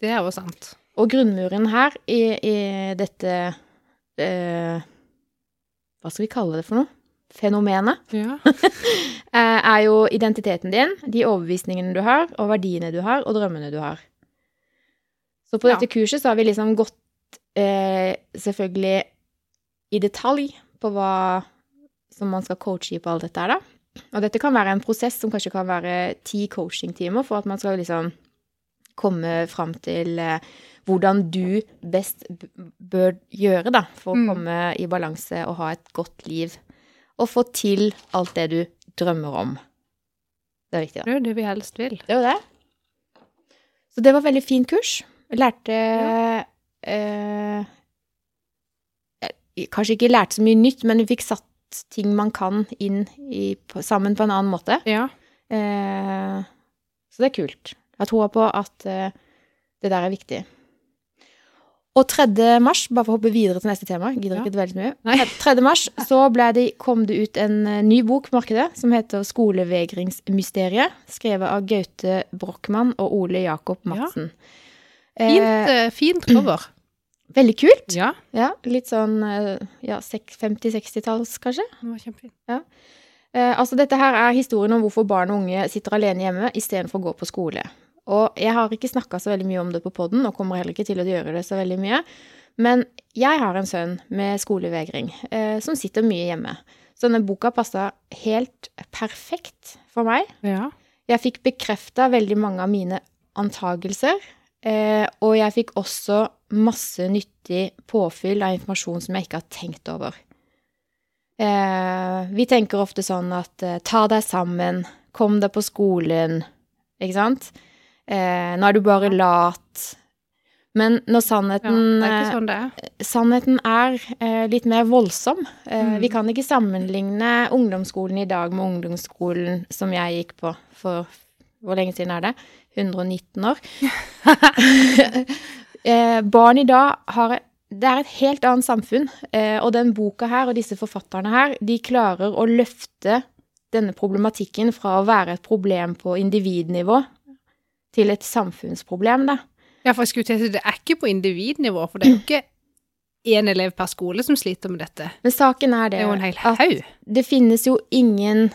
Det er jo sant. Og grunnmuren her i, i dette eh, Hva skal vi kalle det for noe? Fenomenet [LAUGHS] Ja. eh, er jo identiteten din, de overbevisningene du har, og verdiene du har, og drømmene du har. Så på Ja. dette kurset så har vi liksom gått eh, selvfølgelig i detalj på hva som man skal coache i på alt dette her, da. Og dette kan være en prosess som kanskje kan være ti coachingtimer for at man skal liksom komme fram til eh, hvordan du best b- bør gjøre da, for å Mm. komme i balanse og ha et godt liv. Og få til alt det du drømmer om. Det er viktig, da. Det er jo det vi helst vil. Det var det. Så det var veldig fin kurs. Jeg lærte eh, jeg- Kanskje ikke lærte så mye nytt, men vi fikk satt ting man kan inn i, på, sammen på en annen måte. Ja. Eh, så det er kult. Jeg har troa på at eh, det der er viktig. Og 3. mars, bare for å hoppe videre til neste tema, gidder Ja. ikke veldig mye. Nei. 3. mars så ble det, kom det ut en eh, ny bok på markedet som heter 'Skolevegringsmysteriet', skrevet av Gaute Brochmann og Ole Jakob Madsen. Fint, eh, fint cover. veldig kult. Ja. Ja, litt sånn eh, ja, sek- 50-60-talls, kanskje. Den var kjempefin. Eh, altså dette her er historien om hvorfor barn og unge sitter alene hjemme istedenfor å gå på skole. Og jeg har ikke snakka så veldig mye om det på poden, og kommer heller ikke til å gjøre det så veldig mye. Men jeg har en sønn med skolevegring eh, som sitter mye hjemme. Så denne boka passa helt perfekt for meg. Ja. Jeg fikk bekrefta veldig mange av mine antagelser. Eh, og jeg fikk også masse nyttig påfyll av informasjon som jeg ikke har tenkt over. Eh, vi tenker ofte sånn at eh, ta deg sammen, kom deg på skolen, ikke sant? Eh, nå er du bare lat. Men når ja. Det sannheten er eh, ikke sånn det er. sannheten er eh, litt mer voldsom. Eh, Mm. Vi kan ikke sammenligne ungdomsskolen i dag med ungdomsskolen som jeg gikk på for Hvor lenge siden er det? 119 år. [LAUGHS] eh, barn i dag har Det er et helt annet samfunn. Eh, og den boka her og disse forfatterne her, de klarer å løfte denne problematikken fra å være et problem på individnivå til et samfunnsproblem, da. Ja, for jeg skulle til å si, det er ikke på individnivå, for det er jo ikke én elev per skole som sliter med dette. Men saken er Det det er jo en hel at haug. det finnes jo ingen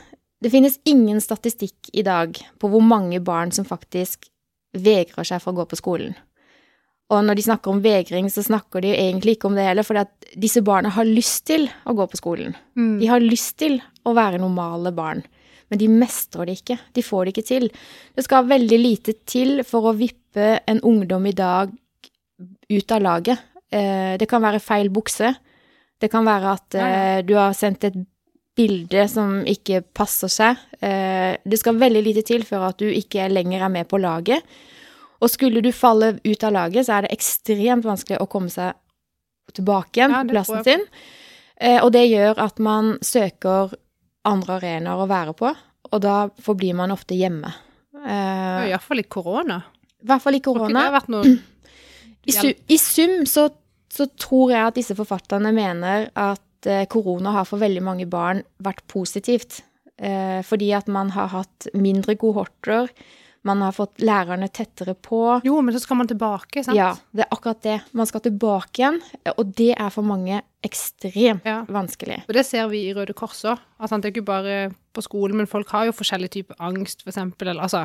Det finnes ingen statistikk i dag på hvor mange barn som faktisk vegrer seg for å gå på skolen. Og når de snakker om vegring, så snakker de jo egentlig ikke om det heller, for disse barna har lyst til å gå på skolen. Mm. De har lyst til å være normale barn, men de mestrer det ikke. De får det ikke til. Det skal veldig lite til for å vippe en ungdom i dag ut av laget. Eh, Det kan være feil bukse. Det kan være at Ja, ja. eh, du har sendt et bilde som ikke passer seg. Eh, Det skal veldig lite til for at du ikke lenger er med på laget. Og skulle du falle ut av laget, så er det ekstremt vanskelig å komme seg tilbake igjen Ja, på det tror plassen jeg sin. Eh, Og det gjør at man søker andre arenaer å være på, og da forblir man ofte hjemme. Det er Eh, jo iallfall litt korona. I hvert fall i Har ikke korona. Mm. det vært noe I, su I sum så, så tror jeg at disse forfatterne mener at eh, korona har for veldig mange barn vært positivt. Eh, fordi at man har hatt mindre kohorter, man har fått lærerne tettere på. Jo, men så skal man tilbake, sant? Ja, det er akkurat det. Man skal tilbake igjen, og det er for mange ekstremt Ja. vanskelig. Og det ser vi i Røde Kors òg. Altså, det er ikke bare på skolen, men folk har jo forskjellig type angst, for eksempel. Eller, altså,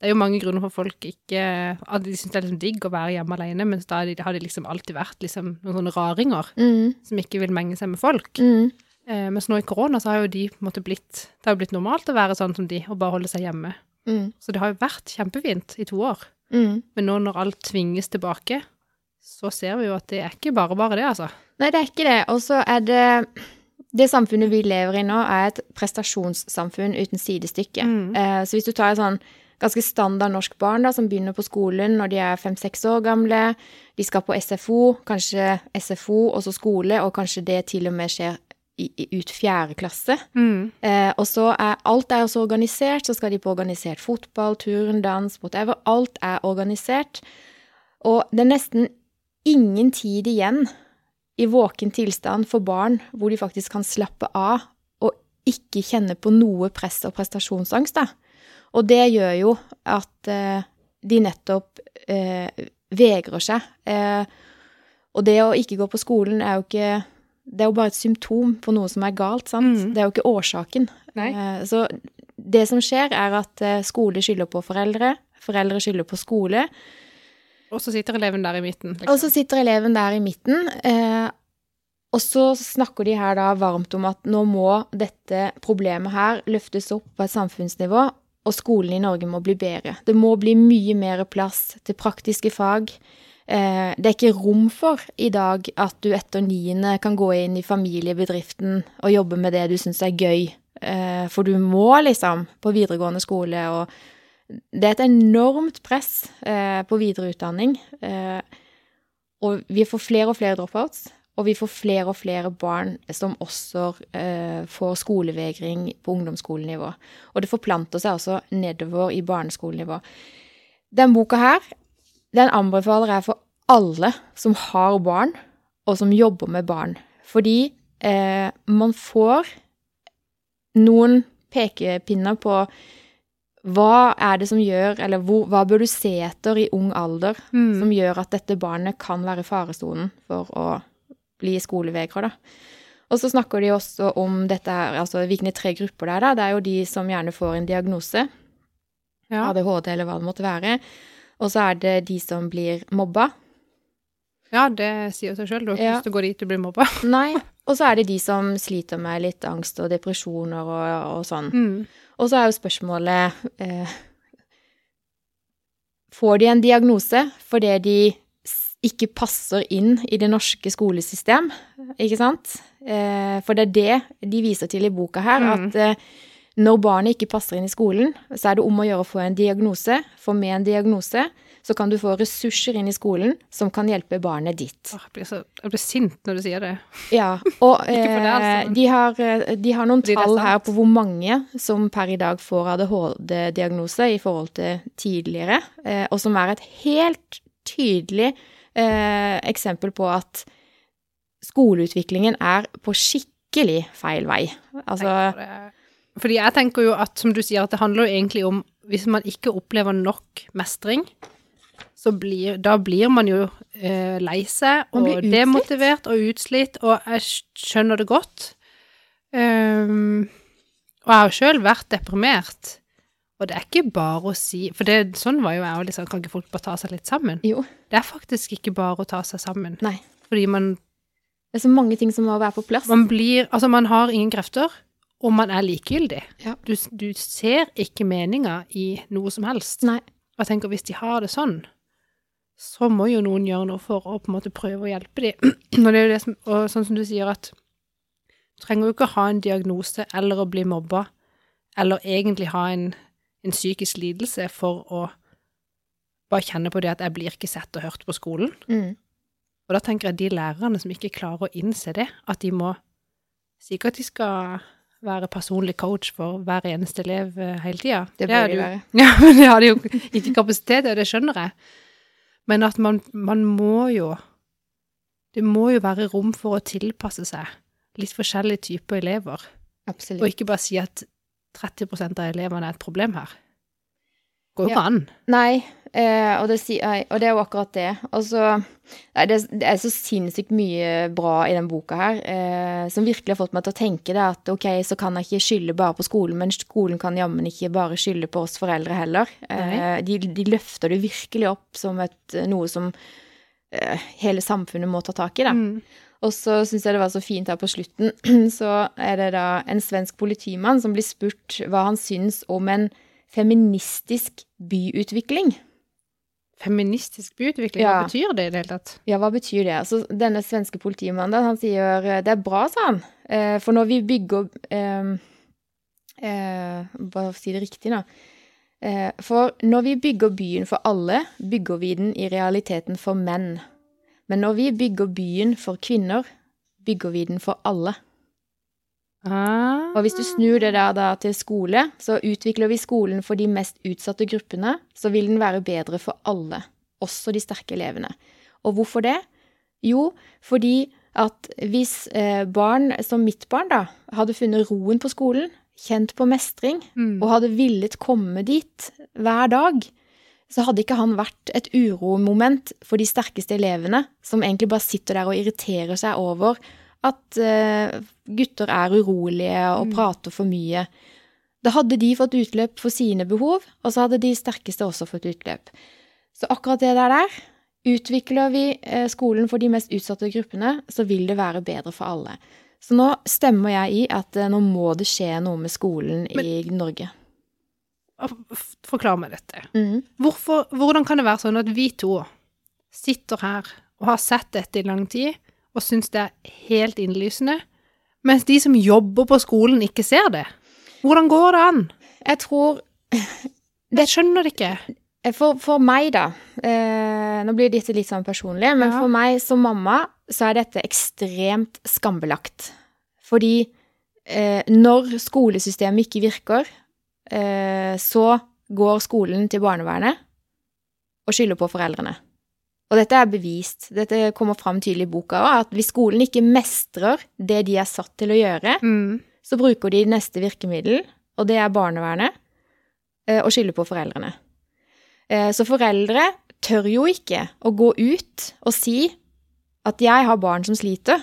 det er jo mange grunner for folk ikke At de syns det er liksom digg å være hjemme alene, mens da har de- har de liksom alltid vært liksom, noen sånne raringer Mm, som ikke vil menge seg med folk. mm. Eh, mens nå i korona så har jo de på en måte blitt Det har jo blitt normalt å være sånn som de, og bare holde seg hjemme. Mm, Så det har jo vært kjempefint i to år. mm. Men nå når alt tvinges tilbake, så ser vi jo at det er ikke bare bare det, altså. Nei, det er ikke det. Og så er det Det samfunnet vi lever i nå, er et prestasjonssamfunn uten sidestykke. Mm. Eh, så hvis du tar et sånn ganske standard norsk barn da, som begynner på skolen når de er fem-seks år gamle, de skal på SFO, kanskje SFO og så skole, og kanskje det til og med skjer i, i, ut fjerde klasse. Eh, og så er alt er også organisert, så skal de på organisert fotball, turn, dans, whatever. Alt er organisert. Og det er nesten ingen tid igjen i våken tilstand for barn hvor de faktisk kan slappe av og ikke kjenne på noe press og prestasjonsangst. Da. Og det gjør jo at eh, de nettopp eh, vegrer seg. Eh, og det å ikke gå på skolen er jo ikke Det er jo bare et symptom på noe som er galt, sant? Mhm. Det er jo ikke årsaken. Nei. Eh, Så det som skjer, er at eh, skole skylder på foreldre, foreldre skylder på skole. Og så sitter eleven der i midten. liksom. Og så sitter eleven der i midten, eh, og så snakker de her da varmt om at nå må dette problemet her løftes opp på et samfunnsnivå, og skolen i Norge må bli bedre. Det må bli mye mer plass til praktiske fag. Eh, det er ikke rom for i dag at du etter niende kan gå inn i familiebedriften og jobbe med det du syns er gøy, eh, for du må liksom på videregående skole og det er et enormt press eh, på videreutdanning. Eh, og vi får flere og flere dropouts, og vi får flere og flere barn som også eh, får skolevegring på ungdomsskolenivå. Og det forplanter seg også nedover i barneskolenivå. Den boka her, den anbefaler jeg for alle som har barn, og som jobber med barn. Fordi eh, man får noen pekepinner på hva er det som gjør, eller hvor, hva bør du se etter i ung alder Mm. som gjør at dette barnet kan være i faresonen for å bli skolevegra, da. Og så snakker de også om dette her, altså hvilke tre grupper det er, da. Det er jo de som gjerne får en diagnose, ja. ADHD eller hva det måtte være. Og så er det de som blir mobba. ja, det sier seg sjøl. Du har ikke Ja. lyst til å gå dit du blir mobba. Nei. Og så er det de som sliter med litt angst og depresjoner og, og sånn. Mm. Og så er jo spørsmålet eh, Får de en diagnose fordi de s- ikke passer inn i det norske skolesystem? Ikke sant? Eh, for det er det de viser til i boka her, Mm. at eh, når barnet ikke passer inn i skolen, så er det om å gjøre å få en diagnose. For med en diagnose så kan du få ressurser inn i skolen som kan hjelpe barnet dit. Åh, jeg, blir så, jeg blir sint når du sier det. Ja, [LAUGHS] og Ikke for det, altså. eh, de, har, eh, de har noen Fordi det er tall her sant. på hvor mange som per i dag får ADHD-diagnose i forhold til tidligere, eh, og som er et helt tydelig eh, eksempel på at skoleutviklingen er på skikkelig feil vei. Altså, Tenker det- Fordi jeg tenker jo at, som du sier, at det handler jo egentlig om Hvis man ikke opplever nok mestring, så blir, da blir man jo eh, lei seg Man og blir utslitt. demotivert og utslitt, og jeg skjønner det godt. Ehm, og jeg har jo sjøl vært deprimert. Og det er ikke bare å si For det, sånn var jo jeg òg, liksom. Kan ikke folk bare ta seg litt sammen? jo, Det er faktisk ikke bare å ta seg sammen. nei. Fordi man Det er så mange ting som må være på plass. man blir Altså, man har ingen krefter, og man er likegyldig. Ja. Du, du ser ikke meninga i noe som helst. Nei. Og jeg tenker, hvis de har det sånn, så må jo noen gjøre noe for å på en måte prøve å hjelpe dem. [CLEARS THROAT] Og det er jo det som Og sånn som du sier, at du trenger jo ikke ha en diagnose eller å bli mobba, eller egentlig ha en, en psykisk lidelse for å bare kjenne på det at jeg blir ikke sett og hørt på skolen. Mm. Og da tenker jeg de lærerne som ikke klarer å innse det, at de må sikkert de skal være personlig coach for hver eneste elev eh, hele tida. Det har bør de jo- være. [LAUGHS] Ja, men det har de jo ikke kapasitet til, og det skjønner jeg. Men at man, man må jo Det må jo være rom for å tilpasse seg litt forskjellige typer elever, og Absolutt. ikke bare si at 30 av elevene er et problem her. Går jo Ja. ikke an. Nei, eh, og, det, si- nei, og det er jo akkurat det. Og så- nei, det, det er så sinnssykt mye bra i den boka her, eh, som virkelig har fått meg til å tenke det at ok, så kan jeg ikke skylde bare på skolen, men skolen kan jammen ikke bare skylde på oss foreldre heller. Eh, de, de løfter det virkelig opp som et, noe som eh, hele samfunnet må ta tak i, da. Mm. Og så syns jeg det var så fint her på slutten, [CLEARS THROAT] så er det da en svensk politimann som blir spurt hva han syns om en feministisk byutvikling. Feministisk byutvikling, hva Ja. betyr det i det hele tatt? Ja, hva betyr det? Altså, denne svenske politimannen, da, han sier eh, det er bra, sa han. Eh, For når vi bygger eh, eh, Bare si det riktig, da. Eh, For når vi bygger byen for alle, bygger vi den i realiteten for menn. Men når vi bygger byen for kvinner, bygger vi den for alle. Ah. Og hvis du snur det der da til skole, så utvikler vi skolen for de mest utsatte gruppene, så vil den være bedre for alle, også de sterke elevene. Og hvorfor det? Jo, fordi at hvis eh, barn, som mitt barn da, hadde funnet roen på skolen, kjent på mestring, Mm. og hadde villet komme dit hver dag, så hadde ikke han vært et uromoment for de sterkeste elevene, som egentlig bare sitter der og irriterer seg over at eh, gutter er urolige og Mm. prater for mye. Da hadde de fått utløp for sine behov, og så hadde de sterkeste også fått utløp. Så akkurat det der, der Utvikler vi eh, skolen for de mest utsatte gruppene, så vil det være bedre for alle. Så nå stemmer jeg i at eh, nå må det skje noe med skolen i Norge. F- Forklar meg dette. Mhm. Hvorfor, hvordan kan det være sånn at vi to sitter her og har sett dette i lang tid, og syns det er helt innlysende, mens de som jobber på skolen, ikke ser det? Hvordan går det an? Jeg tror Jeg skjønner det ikke. eh, for, for meg, da eh, Nå blir dette litt sånn personlig, men Ja. for meg som mamma så er dette ekstremt skambelagt. Fordi eh, når skolesystemet ikke virker, eh, så går skolen til barnevernet og skylder på foreldrene. Og dette er bevist. Dette kommer fram tydelig i boka òg, at hvis skolen ikke mestrer det de er satt til å gjøre, Mm. så bruker de neste virkemiddel, og det er barnevernet, eh, og skylder på foreldrene. Eh, Så foreldre tør jo ikke å gå ut og si at 'jeg har barn som sliter'.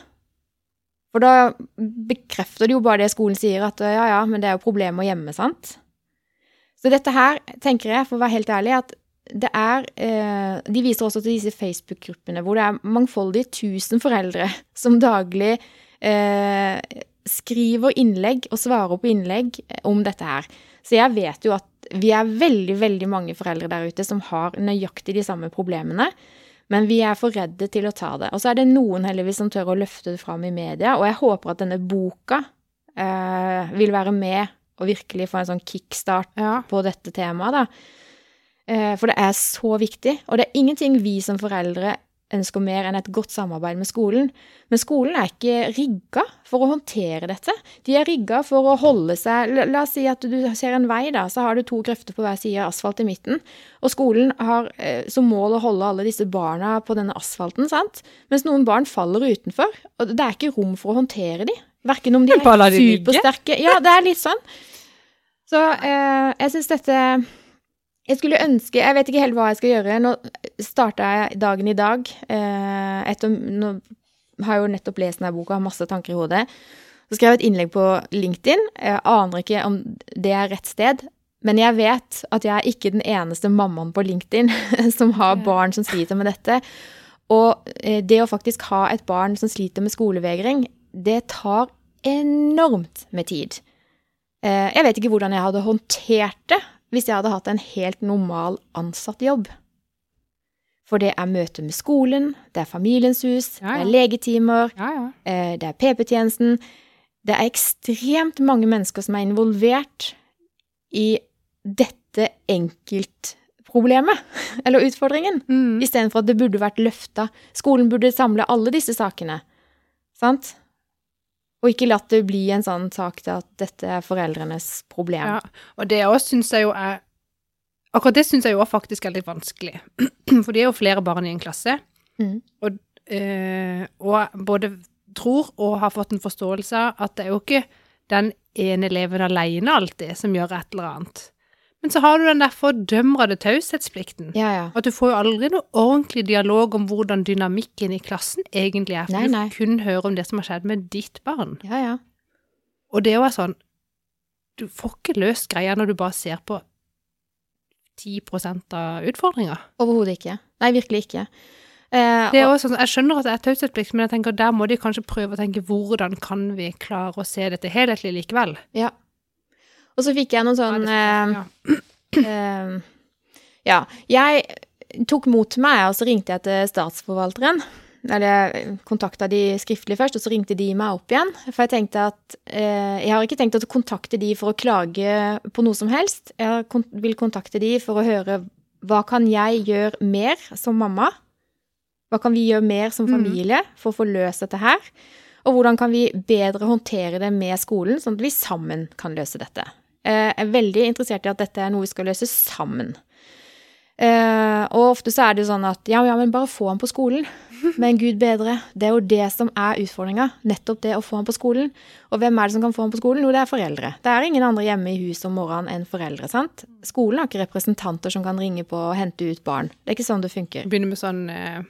For da bekrefter de jo bare det skolen sier, at eh, 'ja ja, men det er jo problemer hjemme', sant? Så dette her tenker jeg, for å være helt ærlig, at det er eh, De viser også til disse Facebook-gruppene hvor det er mangfoldige tusen foreldre som daglig eh, skriver innlegg og svarer på innlegg eh, om dette her. Så jeg vet jo at vi er veldig, veldig mange foreldre der ute som har nøyaktig de samme problemene. Men vi er for redde til å ta det. Og så er det noen heldigvis som tør å løfte det fram i media, og jeg håper at denne boka eh, vil være med og virkelig få en sånn kickstart Ja. på dette temaet, da. Eh, For det er så viktig. Og det er ingenting vi som foreldre ønsker mer enn et godt samarbeid med skolen. Men skolen er ikke rigga for å håndtere dette. De er rigga for å holde seg la, la oss si at du ser en vei, da. Så har du to grøfter på hver side av asfalt i midten. Og skolen har eh, som mål å holde alle disse barna på denne asfalten, sant. Mens noen barn faller utenfor. Og det er ikke rom for å håndtere de. Verken om de Men bare la er de ligge. supersterke Ja, det er litt sånn. Så eh, jeg syns dette Jeg skulle ønske Jeg vet ikke helt hva jeg skal gjøre. Nå starta jeg dagen i dag. Eh, etter, nå har jeg jo nettopp lest denne boka, har masse tanker i hodet. Så skrev jeg et innlegg på LinkedIn. Jeg aner ikke om det er rett sted. Men jeg vet at jeg er ikke den eneste mammaen på LinkedIn [LAUGHS] som har Ja. barn som sliter med dette. Og eh, det å faktisk ha et barn som sliter med skolevegring, det tar enormt med tid. Eh, Jeg vet ikke hvordan jeg hadde håndtert det hvis jeg hadde hatt en helt normal ansatt jobb. For det er møte med skolen, det er familiens hus, Ja, ja. det er legetimer, Ja, ja. eh, det er PP-tjenesten. Det er ekstremt mange mennesker som er involvert i dette enkeltproblemet, [LAUGHS] eller utfordringen. Mm. Istedenfor at det burde vært løfta. Skolen burde samle alle disse sakene. Sant? Og ikke latt det bli en sånn sak til at dette er foreldrenes problem. Ja, og det òg syns jeg jo er Akkurat det syns jeg jo også faktisk er litt vanskelig. [CLEARS THROAT] For det er jo flere barn i en klasse, Mm. og, eh, og både tror og har fått en forståelse av at det er jo ikke den ene eleven alene alltid som gjør et eller annet. Men så har du den der fordømrede taushetsplikten. Ja, ja. At du får jo aldri noe ordentlig dialog om hvordan dynamikken i klassen egentlig er. For Nei, nei. du kun hører om det som har skjedd med ditt barn. ja, ja. Og det er jo sånn Du får ikke løst greia når du bare ser på 10 av utfordringa. Overhodet ikke. Nei, virkelig ikke. Eh, Det er og, også sånn, jeg skjønner at det er taushetsplikt, men jeg tenker der må de kanskje prøve å tenke hvordan kan vi klare å se dette helhetlig likevel? ja. og så fikk jeg noen sånn eh, ja. Eh, ja. Jeg tok mot til meg, og så ringte jeg til statsforvalteren. Eller kontakta de skriftlig først, og så ringte de meg opp igjen. For jeg tenkte at eh, jeg har ikke tenkt å kontakte de for å klage på noe som helst. Jeg har kon- vil kontakte de for å høre hva kan jeg gjøre mer som mamma? Hva kan vi gjøre mer som Mhm. familie for å få løst dette her? Og hvordan kan vi bedre håndtere det med skolen, sånn at vi sammen kan løse dette? Eh, Jeg er veldig interessert i at dette er noe vi skal løse sammen. Eh, og ofte så er det jo sånn at ja, ja, men bare få han på skolen. Men gud bedre, det er jo det som er utfordringa. Nettopp det å få han på skolen. Og hvem er det som kan få han på skolen? Jo, det er foreldre. Det er ingen andre hjemme i huset om morgenen enn foreldre, sant? Skolen har ikke representanter som kan ringe på og hente ut barn. Det er ikke sånn det funker. Begynne med sånn, eh,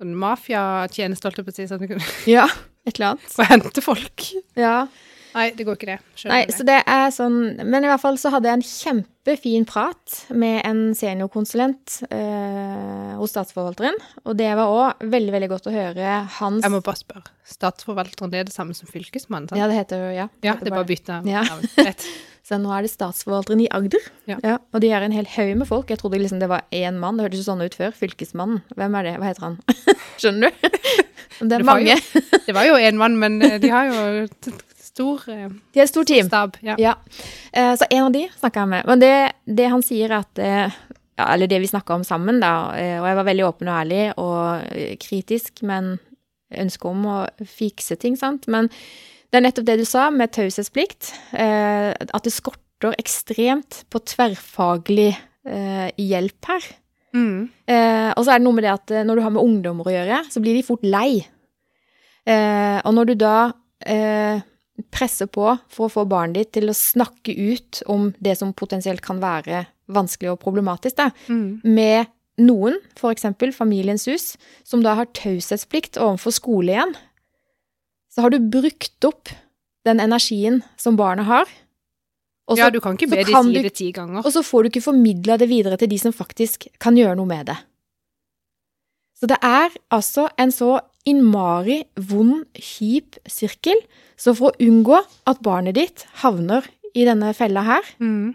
sånn mafiatjeneste, holdt jeg på å si, sånn at du kan [LAUGHS] Ja, et eller annet. få hente folk. Ja. Nei, det går ikke det. Skjønner Nei, det. så det er sånn Men i hvert fall så hadde jeg en kjempefin prat med en seniorkonsulent eh, hos Statsforvalteren. Og det var òg veldig, veldig godt å høre hans Jeg må bare spørre. Statsforvalteren, det er det samme som fylkesmannen? sant? Ja, det heter jo ja. Ja, heter det er bare å bytte Ja. navn. Rett. Så nå er det Statsforvalteren i Agder. Ja. og de er en hel haug med folk. Jeg trodde liksom det var én mann. Det hørtes jo sånn ut før. Fylkesmannen. Hvem er det? Hva heter han? [LAUGHS] Skjønner du? Det Det [LAUGHS] er var jo- mange. Det var jo én mann, men eh, de har jo et stor eh, De er et stort team. stab. Ja. Ja. Eh, Så en av de snakka jeg med. Men det, det han sier er at eh, ja, Eller det vi snakka om sammen, da, eh, og jeg var veldig åpen og ærlig og eh, kritisk, men ønske om å fikse ting, sant. Men det er nettopp det du sa med taushetsplikt. eh, At det skorter ekstremt på tverrfaglig eh, hjelp her. Mm. Eh, og så er det noe med det at eh, når du har med ungdommer å gjøre, så blir de fort lei. Eh, og når du da eh, presser på for å få barnet ditt til å snakke ut om det som potensielt kan være vanskelig og problematisk, da, Mm. med noen, f.eks. Familiens hus, som da har taushetsplikt overfor skole igjen, så har du brukt opp den energien som barnet har. Og så, ja, du kan ikke så be de kan si du- det ti ganger. og så får du ikke formidla det videre til de som faktisk kan gjøre noe med det. Så det er altså en så innmari vond, kjip sirkel. Så for å unngå at barnet ditt havner i denne fella her, Mm.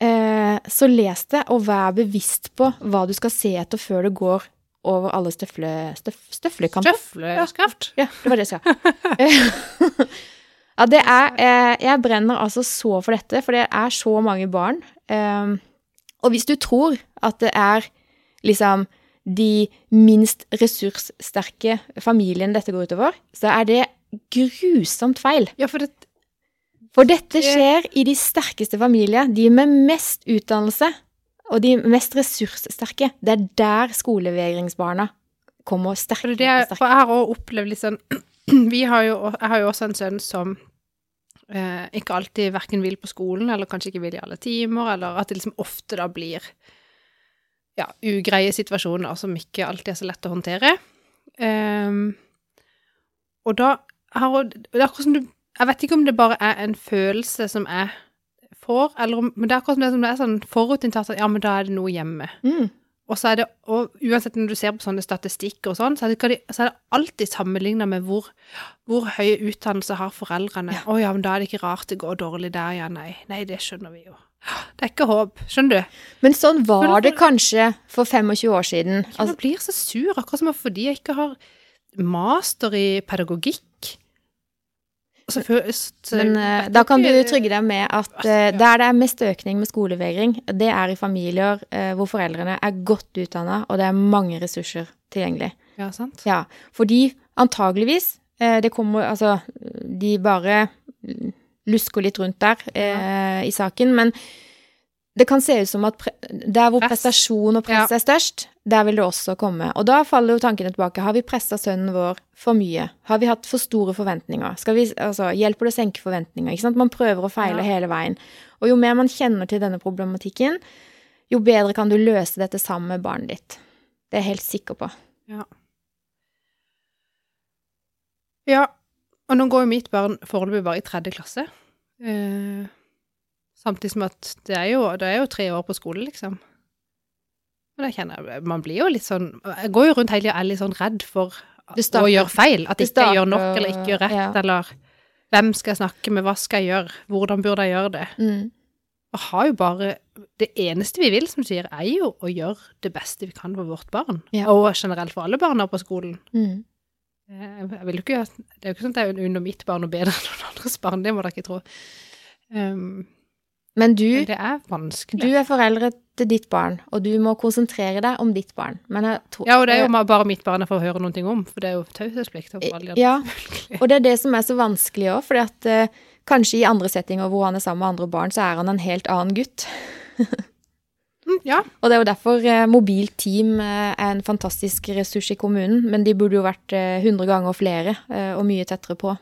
eh, så les det, og vær bevisst på hva du skal se etter før det går over alle støfle, støf, støflekanter. Tøfleskaft. Ja, det var det jeg sa. [LAUGHS] ja, det er eh, Jeg brenner altså så for dette, for det er så mange barn. Eh, og hvis du tror at det er liksom de minst ressurssterke familiene dette går utover, så er det grusomt feil. Ja, for det For dette Det- skjer i de sterkeste familier, de med mest utdannelse og de mest ressurssterke. Det er der skolevegringsbarna kommer For, sterkere det og er, sterkere. for jeg har også opplevd litt sånn [CLEARS THROAT] vi har jo, Jeg har jo også en sønn som eh, ikke alltid verken vil på skolen, eller kanskje ikke vil i alle timer, eller at det liksom ofte da blir ja, ugreie situasjoner som ikke alltid er så lett å håndtere. Ehm, og da har hun Det er akkurat som du Jeg vet ikke om det bare er en følelse som jeg får, eller om Men det er akkurat som det, er som det er sånn forutinntatt at ja, men da er det noe hjemme. Mm. Og så er det, og uansett når du ser på sånne statistikker og sånn, så er det, ikke de- så er det alltid sammenlignet med hvor, hvor høy utdannelse har foreldrene. Å Ja. ja. men da er det ikke rart det går dårlig der, ja, nei. Nei, det skjønner vi jo. Det er ikke håp, skjønner du? Men sånn var Føler- det kanskje for 25 år siden. Jeg Altså, blir så sur, akkurat som om fordi jeg ikke har master i pedagogikk. Så, fø- så, men eh, da kan du trygge deg med at eh, der det er mest økning med skolevegring, det er i familier eh, hvor foreldrene er godt utdanna, og det er mange ressurser tilgjengelig. Ja, sant? Ja, fordi antageligvis eh, det kommer Altså, de bare lusker litt rundt der eh, i saken, men det kan se ut som at pre der hvor Press. prestasjon og press er størst, der vil det også komme. Og da faller jo tankene tilbake. Har vi pressa sønnen vår for mye? Har vi hatt for store forventninger? Skal vi, altså, hjelper det å senke forventninger? Ikke sant? Man prøver og feiler Ja. hele veien. Og jo mer man kjenner til denne problematikken, jo bedre kan du løse dette sammen med barnet ditt. Det er jeg helt sikker på. Ja, og nå går jo mitt barn foreløpig bare i tredje klasse. Eh, samtidig som at det er, jo, det er jo tre år på skole, liksom. Men jeg kjenner, jeg- man blir jo litt sånn Jeg går jo rundt hele tida og er litt sånn redd for Det starter- å gjøre feil. At det ikke jeg gjør nok starter- eller ikke gjør rett, ja. eller hvem skal jeg snakke med, hva skal jeg gjøre, hvordan burde jeg gjøre det? Mm. Og har jo bare Det eneste vi vil, som du sier, er jo å gjøre det beste vi kan for vårt barn. Ja. Og generelt for alle barna på skolen. Mm. Jeg Eh, jeg vil jo ikke, det er jo ikke sånn at det er under mitt barn og bedre enn [LAUGHS] noen andres barn, det må dere ikke tro. Um, Men du, men det er vanskelig. du er foreldre til ditt barn, og du må konsentrere deg om ditt barn. Men jeg tror, Eh, ja, og det er jo ma- bare mitt barn jeg får høre noen ting om, for det er jo taushetsplikt. overfor alle de andre, [LAUGHS] Ja. selvfølgelig. Og det er det som er så vanskelig òg, for eh, kanskje i andre settinger hvor han er sammen med andre barn, så er han en helt annen gutt. Mm, Ja, Og det er jo derfor eh, mobilt team eh, er en fantastisk ressurs i kommunen, men de burde jo vært eh, 100 ganger flere eh, og mye tettere på.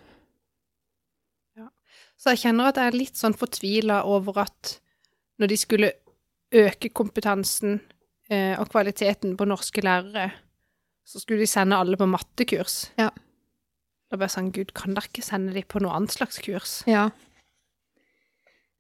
så jeg kjenner at jeg er litt sånn fortvila over at når de skulle øke kompetansen eh, og kvaliteten på norske lærere, så skulle de sende alle på mattekurs. Ja. Da Da bare sånn, Gud, kan dere ikke sende dem på noe annet slags kurs? Ja.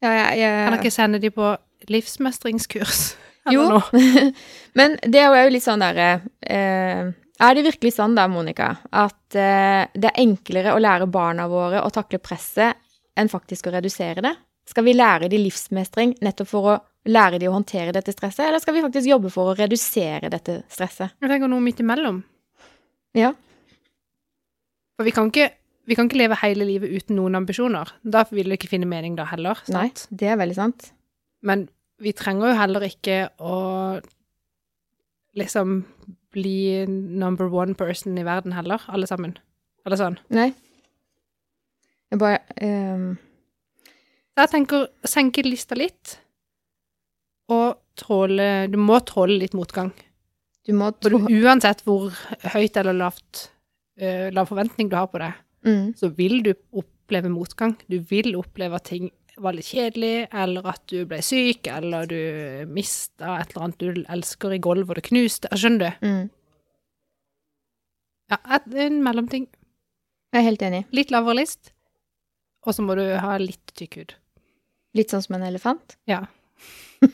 Ja, jeg, jeg Kan dere ikke sende dem på livsmestringskurs? [LAUGHS] Eller Jo. noe? [LAUGHS] Men det er jo litt sånn derre eh, Er det virkelig sånn da, Monica, at eh, det er enklere å lære barna våre å takle presset enn faktisk å redusere det? Skal vi lære de livsmestring nettopp for å lære de å håndtere dette stresset, eller skal vi faktisk jobbe for å redusere dette stresset? Jeg tenker noe midt imellom. Ja. For vi kan ikke, vi kan ikke leve hele livet uten noen ambisjoner. Da vil du ikke finne mening da heller. Nei, Sant? det er veldig sant. Men vi trenger jo heller ikke å liksom bli number one person i verden heller, alle sammen. Eller sånn. Nei. Jeg bare ehm, Så jeg tenker senke lista litt, og tåle Du må tåle litt motgang. Du må For tro du, uansett hvor høyt eller lavt eh, lav forventning du har på det, mm, så vil du oppleve motgang. Du vil oppleve at ting var litt kjedelig, eller at du ble syk, eller du mista et eller annet du elsker i gulvet, og det knuste. Skjønner du? mm. Ja, et- en mellomting. Jeg er helt enig. Litt lavere list, og så må du ha litt tykk hud. Litt sånn som en elefant. Ja.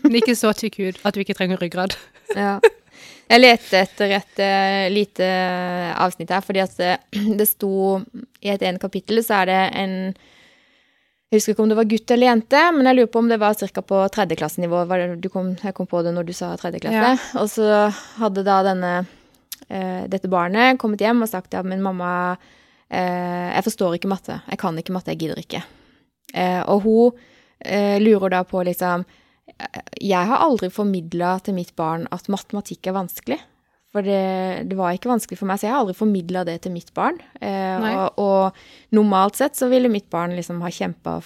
Men ikke så tykk hud at du ikke trenger ryggrad. Ja. Jeg lette etter et eh, lite eh, avsnitt her, fordi at eh, [CLEARS THROAT] det sto I et ene kapittel så er det en Jeg husker ikke om det var gutt eller jente, men jeg lurer på om det var ca. på tredjeklassenivå. Var det- Du kom, jeg kom på det når du sa tredje klasse. Og så hadde da denne eh, dette barnet kommet hjem og sagt ja, men mamma, eh, jeg forstår ikke matte. Jeg kan ikke matte, jeg gidder ikke. Eh, og hun eh, lurer da på liksom jeg har aldri formidla til mitt barn at matematikk er vanskelig. For det, det var ikke vanskelig for meg, så jeg har aldri formidla det til mitt barn. Eh, Nei. og, og normalt sett så ville mitt barn liksom ha kjempa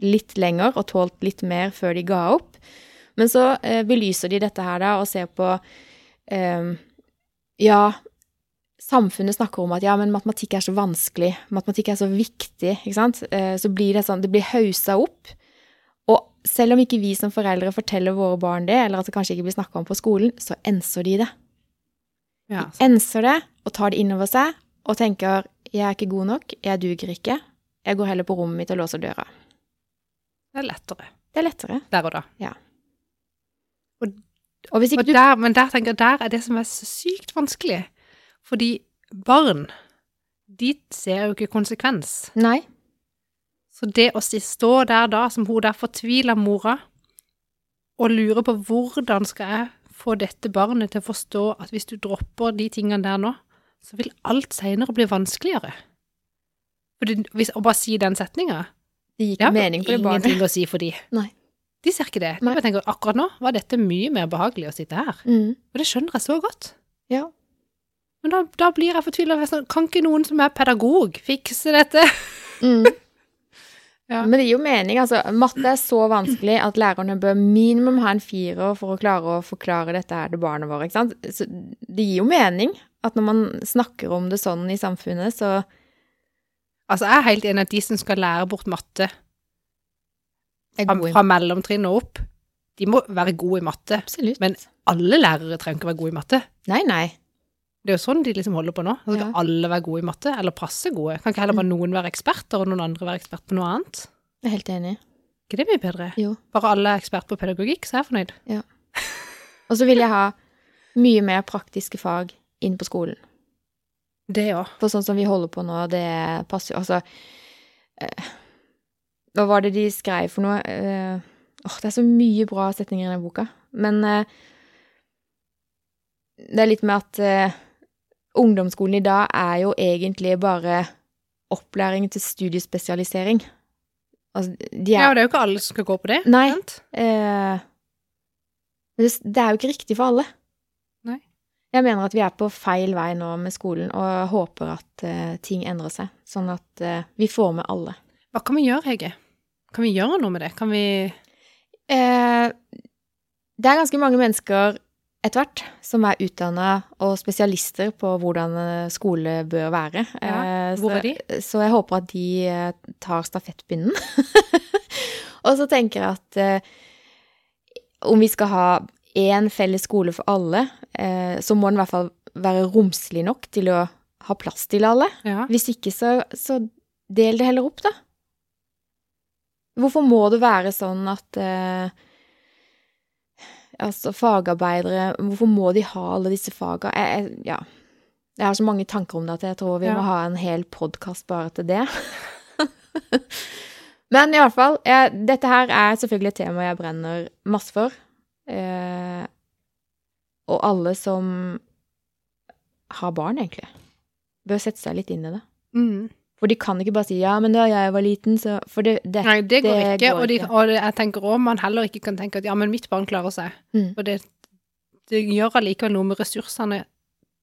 litt lenger og tålt litt mer før de ga opp. Men så eh, belyser de dette her da og ser på eh, Ja, samfunnet snakker om at ja, men matematikk er så vanskelig, matematikk er så viktig, ikke sant? Eh, Så blir det sånn, det blir hausa opp. Og selv om ikke vi som foreldre forteller våre barn det, eller at det kanskje ikke blir snakka om på skolen, så enser de det. Ja. Enser det og tar det innover seg og tenker jeg er ikke god nok, jeg duger ikke, jeg går heller på rommet mitt og låser døra. Det er lettere. Det er lettere. Der og da. Og hvis Og ikke du der, men der tenker jeg, der er det som er så sykt vanskelig. Fordi barn, de ser jo ikke konsekvens. Nei. Så det å si- stå der da, som hun der fortviler mora, og lure på hvordan skal jeg få dette barnet til å forstå at hvis du dropper de tingene der nå, så vil alt seinere bli vanskeligere. Fordi, hvis, og bare si den setninga. Det gikk Det har mening på det barnet. ingenting å si for de. Nei. De ser ikke det. De Nei. bare tenker akkurat nå var dette mye mer behagelig å sitte her. [LAUGHS] Mm. Og det skjønner jeg så godt. Ja. Men da, da blir jeg fortvila. Kan ikke noen som er pedagog, fikse dette? [LAUGHS] Mm. Ja. Men det gir jo mening. Altså, matte er så vanskelig at lærerne bør minimum ha en firer for å klare å forklare dette her til barna våre. Ikke sant? Så det gir jo mening at når man snakker om det sånn i samfunnet, så Altså, jeg er helt enig at de som skal lære bort matte, er fra, gode fra mellomtrinn og opp, de må være gode i matte. Absolutt. Men- Alle lærere trenger ikke være gode i matte. Nei, nei. Det er jo sånn de liksom holder på nå. Så skal Ja. Mm. alle være gode i matte, eller passe gode. Kan ikke heller bare noen være eksperter, og noen andre være ekspert på noe annet. Jeg er helt enig. ikke det mye bedre? Jo. Bare alle er ekspert på pedagogikk, så er jeg fornøyd. Og så vil jeg ha mye mer praktiske fag inn på skolen. Det òg. For sånn som vi holder på nå, det passer jo Altså eh, Hva var det de skrev for noe? Eh, Åh, det er så mye bra setninger i den boka. Men eh, det er litt med at eh, ungdomsskolen i dag er jo egentlig bare opplæring til studiespesialisering. Altså, de Ja, er og det er jo ikke alle som skal gå på det. Nei. sant? Eh, men det, det er jo ikke riktig for alle. Nei. Jeg mener at vi er på feil vei nå med skolen, og jeg håper at eh, ting endrer seg. Sånn at eh, vi får med alle. Hva kan vi gjøre, Hege? Kan vi gjøre noe med det? Kan vi Eh, det er ganske mange mennesker etter hvert som er utdanna og spesialister på hvordan eh, skole bør være. Ja, Eh, hvor så- er de? Så jeg håper at de eh, tar stafettpinnen. [LAUGHS] og så tenker jeg at eh, om vi skal ha én felles skole for alle, eh, så må den i hvert fall være romslig nok til å ha plass til alle. Ja. Hvis ikke, så, så del det heller opp, da. Hvorfor må det være sånn at eh, Altså, fagarbeidere Hvorfor må de ha alle disse faga? Jeg, jeg, ja. Jeg har så mange tanker om det at jeg tror vi Ja. må ha en hel podkast bare til det. [LAUGHS] Men i hvert fall, jeg, dette her er selvfølgelig et tema jeg brenner masse for. Eh, og alle som har barn, egentlig, bør sette seg litt inn i det. Mm. For de kan ikke bare si 'ja, men da jeg var liten', så For det, det Nei, det går det ikke. går og, de, ikke. og det- jeg tenker òg man heller ikke kan tenke at ja, men mitt barn klarer seg. Mm. For det, det gjør allikevel noe med ressursene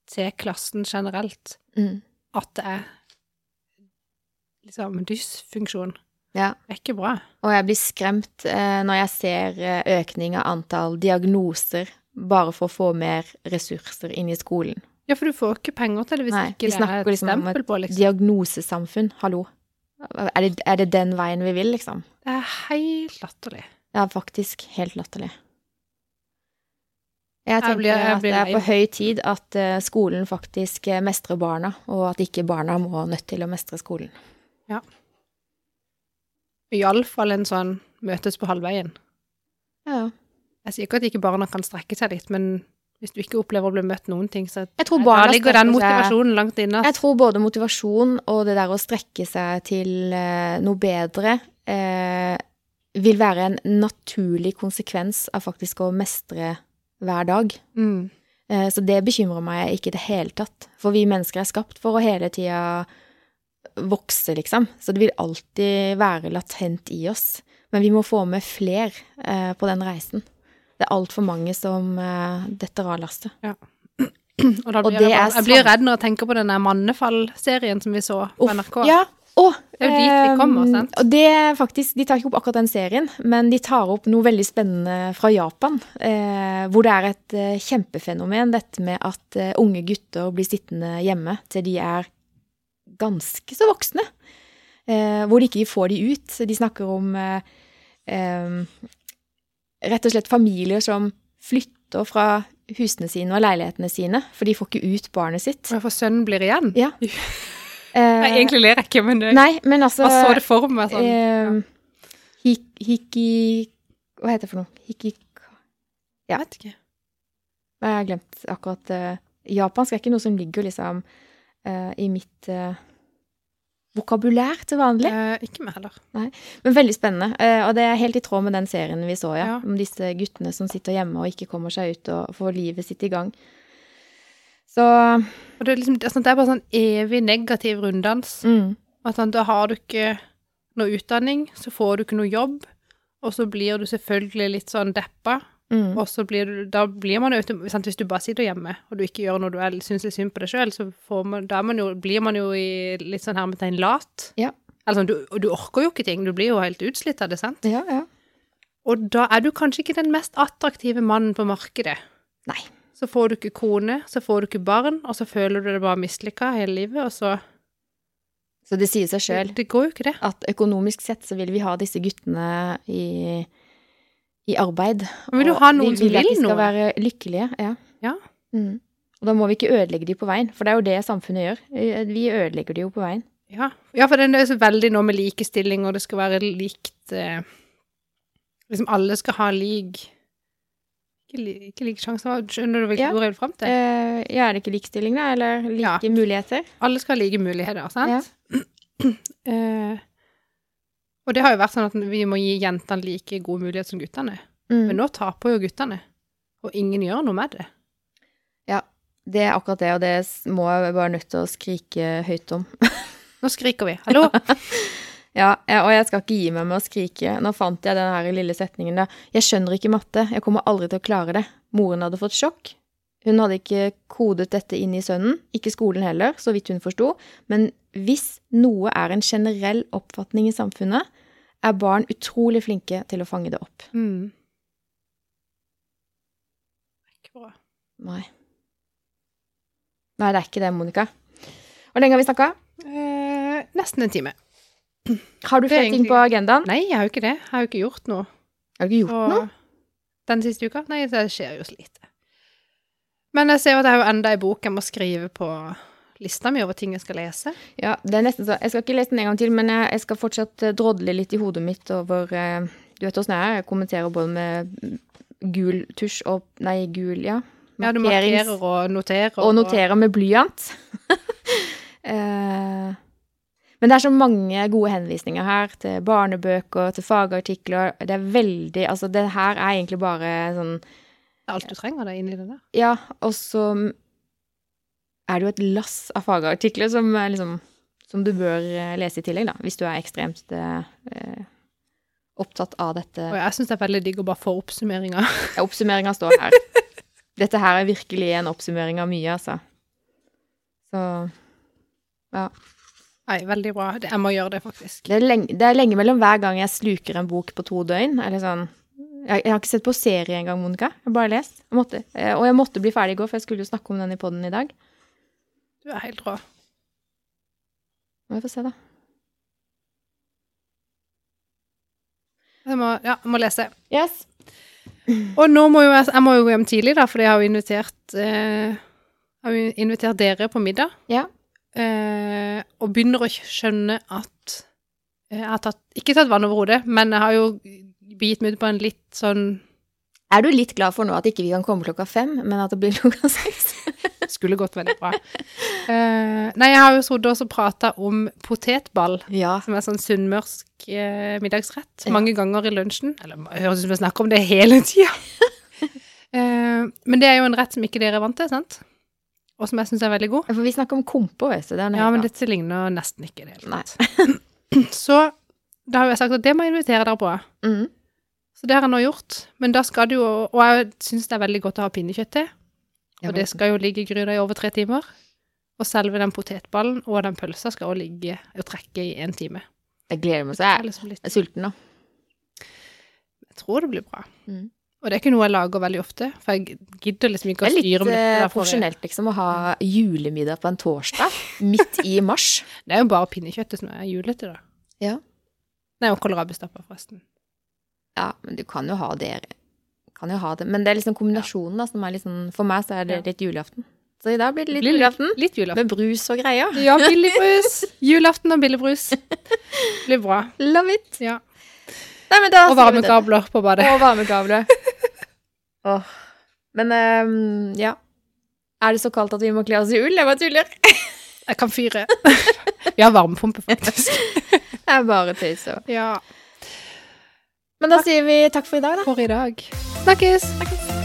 til klassen generelt mm, at det er liksom dysfunksjon. Ja. Det er ikke bra. Og jeg blir skremt eh, når jeg ser eh, økning av antall diagnoser bare for å få mer ressurser inn i skolen. Ja, for du får ikke penger til det hvis Nei, vi ikke det er snakker et liksom om stempel et på, liksom. Diagnosesamfunn, hallo. Er det, er det den veien vi vil, liksom? Det er helt latterlig. Ja, faktisk helt latterlig. Jeg tenker blir- jeg at blir det er lei. på høy tid at eh, skolen faktisk eh, mestrer barna, og at ikke barna må nødt til å mestre skolen. Iallfall en sånn møtes på halvveien. Ja, ja. Jeg sier ikke at ikke barna kan strekke seg litt, men hvis du ikke opplever å bli møtt noen ting, så Jeg tror da barna ligger den strekker seg- motivasjonen langt inne. Jeg tror både motivasjon og det der å strekke seg til eh, noe bedre eh, vil være en naturlig konsekvens av faktisk å mestre hver dag. Mm. Eh, så det bekymrer meg ikke i det hele tatt. For vi mennesker er skapt for å hele tida vokse, liksom. Så det vil alltid være latent i oss. Men vi må få med fler eh, på den reisen. Det er altfor mange som eh, detter av lastet. Og, da Og blir det jeg, er bare, jeg blir sant. redd når jeg tenker på den der Mannefall-serien som vi så på Uff, NRK. Ja. Å, Det er jo dit vi kommer, ehm, sant? Og det er faktisk, De tar ikke opp akkurat den serien, men de tar opp noe veldig spennende fra Japan. Eh, hvor det er et eh, kjempefenomen, dette med at eh, unge gutter blir sittende hjemme til de er ganske så voksne. Eh, hvor de ikke får de ut. Så de snakker om eh, ehm, rett og slett familier som flytter fra husene sine og leilighetene sine, for de får ikke ut barnet sitt. Og jeg får sønnen blir igjen. Ja. Nei, Eh, egentlig ler jeg ikke, men det, Nei, men altså jeg så det for meg sånn. Ehm, hik, hiki Hva heter det for noe? Hiki... ja. Jeg vet ikke. Nei, jeg har glemt akkurat eh, Japansk er ikke noe som ligger liksom eh, i mitt eh, vokabulær til vanlig. Eh, ikke meg heller. Men veldig spennende. eh, og det er helt i tråd med den serien vi så, ja. Ja. Om disse guttene som sitter hjemme og ikke kommer seg ut og får livet sitt i gang. Så Og det, er liksom, det er sånn- det er bare sånn evig negativ runddans. mm, At sånn, da har du ikke noe utdanning, så får du ikke noe jobb, og så blir du selvfølgelig litt sånn deppa, mm, og så blir du, da blir man jo autom- sant, Hvis du bare sitter hjemme, og du ikke gjør noe du er- syns er synd på deg sjøl, så får man, da er man jo, blir man jo i litt sånn hermetegn lat. Ja. Altså, du, og du orker jo ikke ting, du blir jo helt utslitt av det, sant? ja, ja. Og da er du kanskje ikke den mest attraktive mannen på markedet. Nei. Så får du ikke kone, så får du ikke barn, og så føler du deg bare mislykka hele livet, og så Så det sier seg sjøl. Det, det går jo ikke, det. at økonomisk sett så vil vi ha disse guttene i, i arbeid. Men vil du Og ha noen som vi at vil de skal noe? være lykkelige. Ja. Ja. Mm. Og da må vi ikke ødelegge de på veien, for det er jo det samfunnet gjør. Vi ødelegger de jo på veien. Ja, ja for den er så veldig nå med likestilling, og det skal være likt eh, Liksom alle skal ha lik Ikke, li, ikke like sjanser, hva- skjønner du hvilket Ja. ord jeg vil fram til? Eh, ja, er det ikke likestilling, da? Eller Ja. like muligheter? Alle skal ha like muligheter, sant? [CLEARS THROAT] eh, og det har jo vært sånn at vi må gi jentene like gode muligheter som guttene. Men Mm. nå taper jo guttene, og ingen gjør noe med det. Det er akkurat det, og det s- må jeg bare nødt til å skrike høyt om. Nå skriker vi. [LAUGHS] Hallo! Ja, eh, og jeg skal ikke gi meg med å skrike. Nå fant jeg den her lille setningen der. Jeg skjønner ikke matte. Jeg kommer aldri til å klare det. Moren hadde fått sjokk. Hun hadde ikke kodet dette inn i sønnen. Ikke skolen heller, så vidt hun forsto. Men hvis noe er en generell oppfatning i samfunnet, er barn utrolig flinke til å fange det opp. mm. Ikke bra. Nei. Nei, det er ikke det, Monica. Hvor lenge har vi snakka? Eh, nesten en time. Har du Det er flere ting egentlig- på agendaen? Nei, jeg har jo ikke det. Jeg har jo ikke gjort noe. Har du ikke gjort noe? Og den siste uka? Nei, det skjer jo så lite. Men jeg ser jo at jeg har jo enda ei bok jeg må skrive på lista mi over ting jeg skal lese. Ja, det er nesten så. Jeg skal ikke lese den en gang til, men jeg, jeg skal fortsatt eh, drodle litt i hodet mitt over eh, Du vet åssen jeg er, jeg kommenterer både med gul tusj og Nei, gul, ja. Ja, du Markerings- markerer og noterer. Og noterer med blyant. [LAUGHS] Eh, Men det er så mange gode henvisninger her, til barnebøker, til fagartikler. Det er veldig Altså, det her er egentlig bare sånn Det er alt du trenger da, inni det der. Ja, og så er det jo et lass av fagartikler som, er liksom, som du bør eh, lese i tillegg, da, hvis du er ekstremt eh, opptatt av dette. Og jeg syns det er veldig digg å bare få oppsummeringa. Oppsummeringa står her. Dette her er virkelig en oppsummering av mye, altså. Så [LAUGHS] Nei, veldig bra. Det- Jeg må gjøre det, faktisk. det er, lenge, det er lenge mellom hver gang jeg sluker en bok på to døgn. Eller sånn. jeg, jeg har ikke sett på serie engang, Monica. Jeg har bare lest. Jeg måtte, eh, og jeg måtte bli ferdig i går, for jeg skulle jo snakke om den i poden i dag. Du er helt rå. Må vi få se, da. Jeg må, ja, jeg må lese. Yes. Og nå må jo jeg, jeg må jo gå hjem tidlig, da, for jeg har jo invitert eh, jeg har jo invitert dere på middag. Ja. Eh, og begynner å skjønne at eh, jeg har tatt, ikke tatt vann over hodet, men jeg har jo bitt meg ut på en litt sånn Er du litt glad for nå at ikke vi kan komme klokka fem, men at det blir [LAUGHS] klokka seks? Skulle gått veldig bra. Eh, nei, jeg har jo sittet og prata om potetball, Ja. som er sånn sunnmørsk eh, middagsrett, mange ganger i lunsjen. Eller det høres ut som jeg snakker om det hele tida. Eh, men det er jo en rett som ikke dere er vant til, sant? Og som jeg syns er veldig god. For vi snakker om kompo, vet du. Det er noe Ja, men helt dette ligner nesten ikke i det hele tatt. [CLEARS THROAT] Så da har jo jeg sagt at det må jeg invitere dere på. annet. mm. Så det har jeg nå gjort. Men da skal det jo Og jeg syns det er veldig godt å ha pinnekjøtt til. Ja, Og men- det skal jo ligge i gryta i over tre timer. Og selve den potetballen og den pølsa skal også ligge og trekke i én time. Jeg gleder meg så Det er jeg liksom litt, er sulten nå. jeg tror det blir bra. Mm. Og det er ikke noe jeg lager veldig ofte, for jeg gidder liksom ikke Det å er litt styre med eh, dette. der for- profesjonelt liksom å ha julemiddag på en torsdag [LAUGHS] midt i mars. Det er jo bare pinnekjøttet som er julete, da. Ja. Nei, og kålrabistappa, forresten. Ja, men du kan jo ha det. Kan jo ha det. Men det er liksom kombinasjonen da, som er liksom For meg så er det Ja. litt julaften. Så i dag blir det litt Blir litt- julaften. Litt julaften. Med brus og greier. Ja, billigbrus. Julaften og billigbrus. Blir bra. Love it! Ja. Nei, men da Og sier vi det. varmekabler på badet. Og varmekavle. [LAUGHS] Åh. Men ehm, ja. Er det så kaldt at vi må kle oss i ull? Jeg bare tuller. Jeg kan fyre. [LAUGHS] Vi har varmepumpe, faktisk. Jeg er bare tøyser. Ja. Men da sier vi takk for i dag, da. For i dag. Snakkes! Snakkes.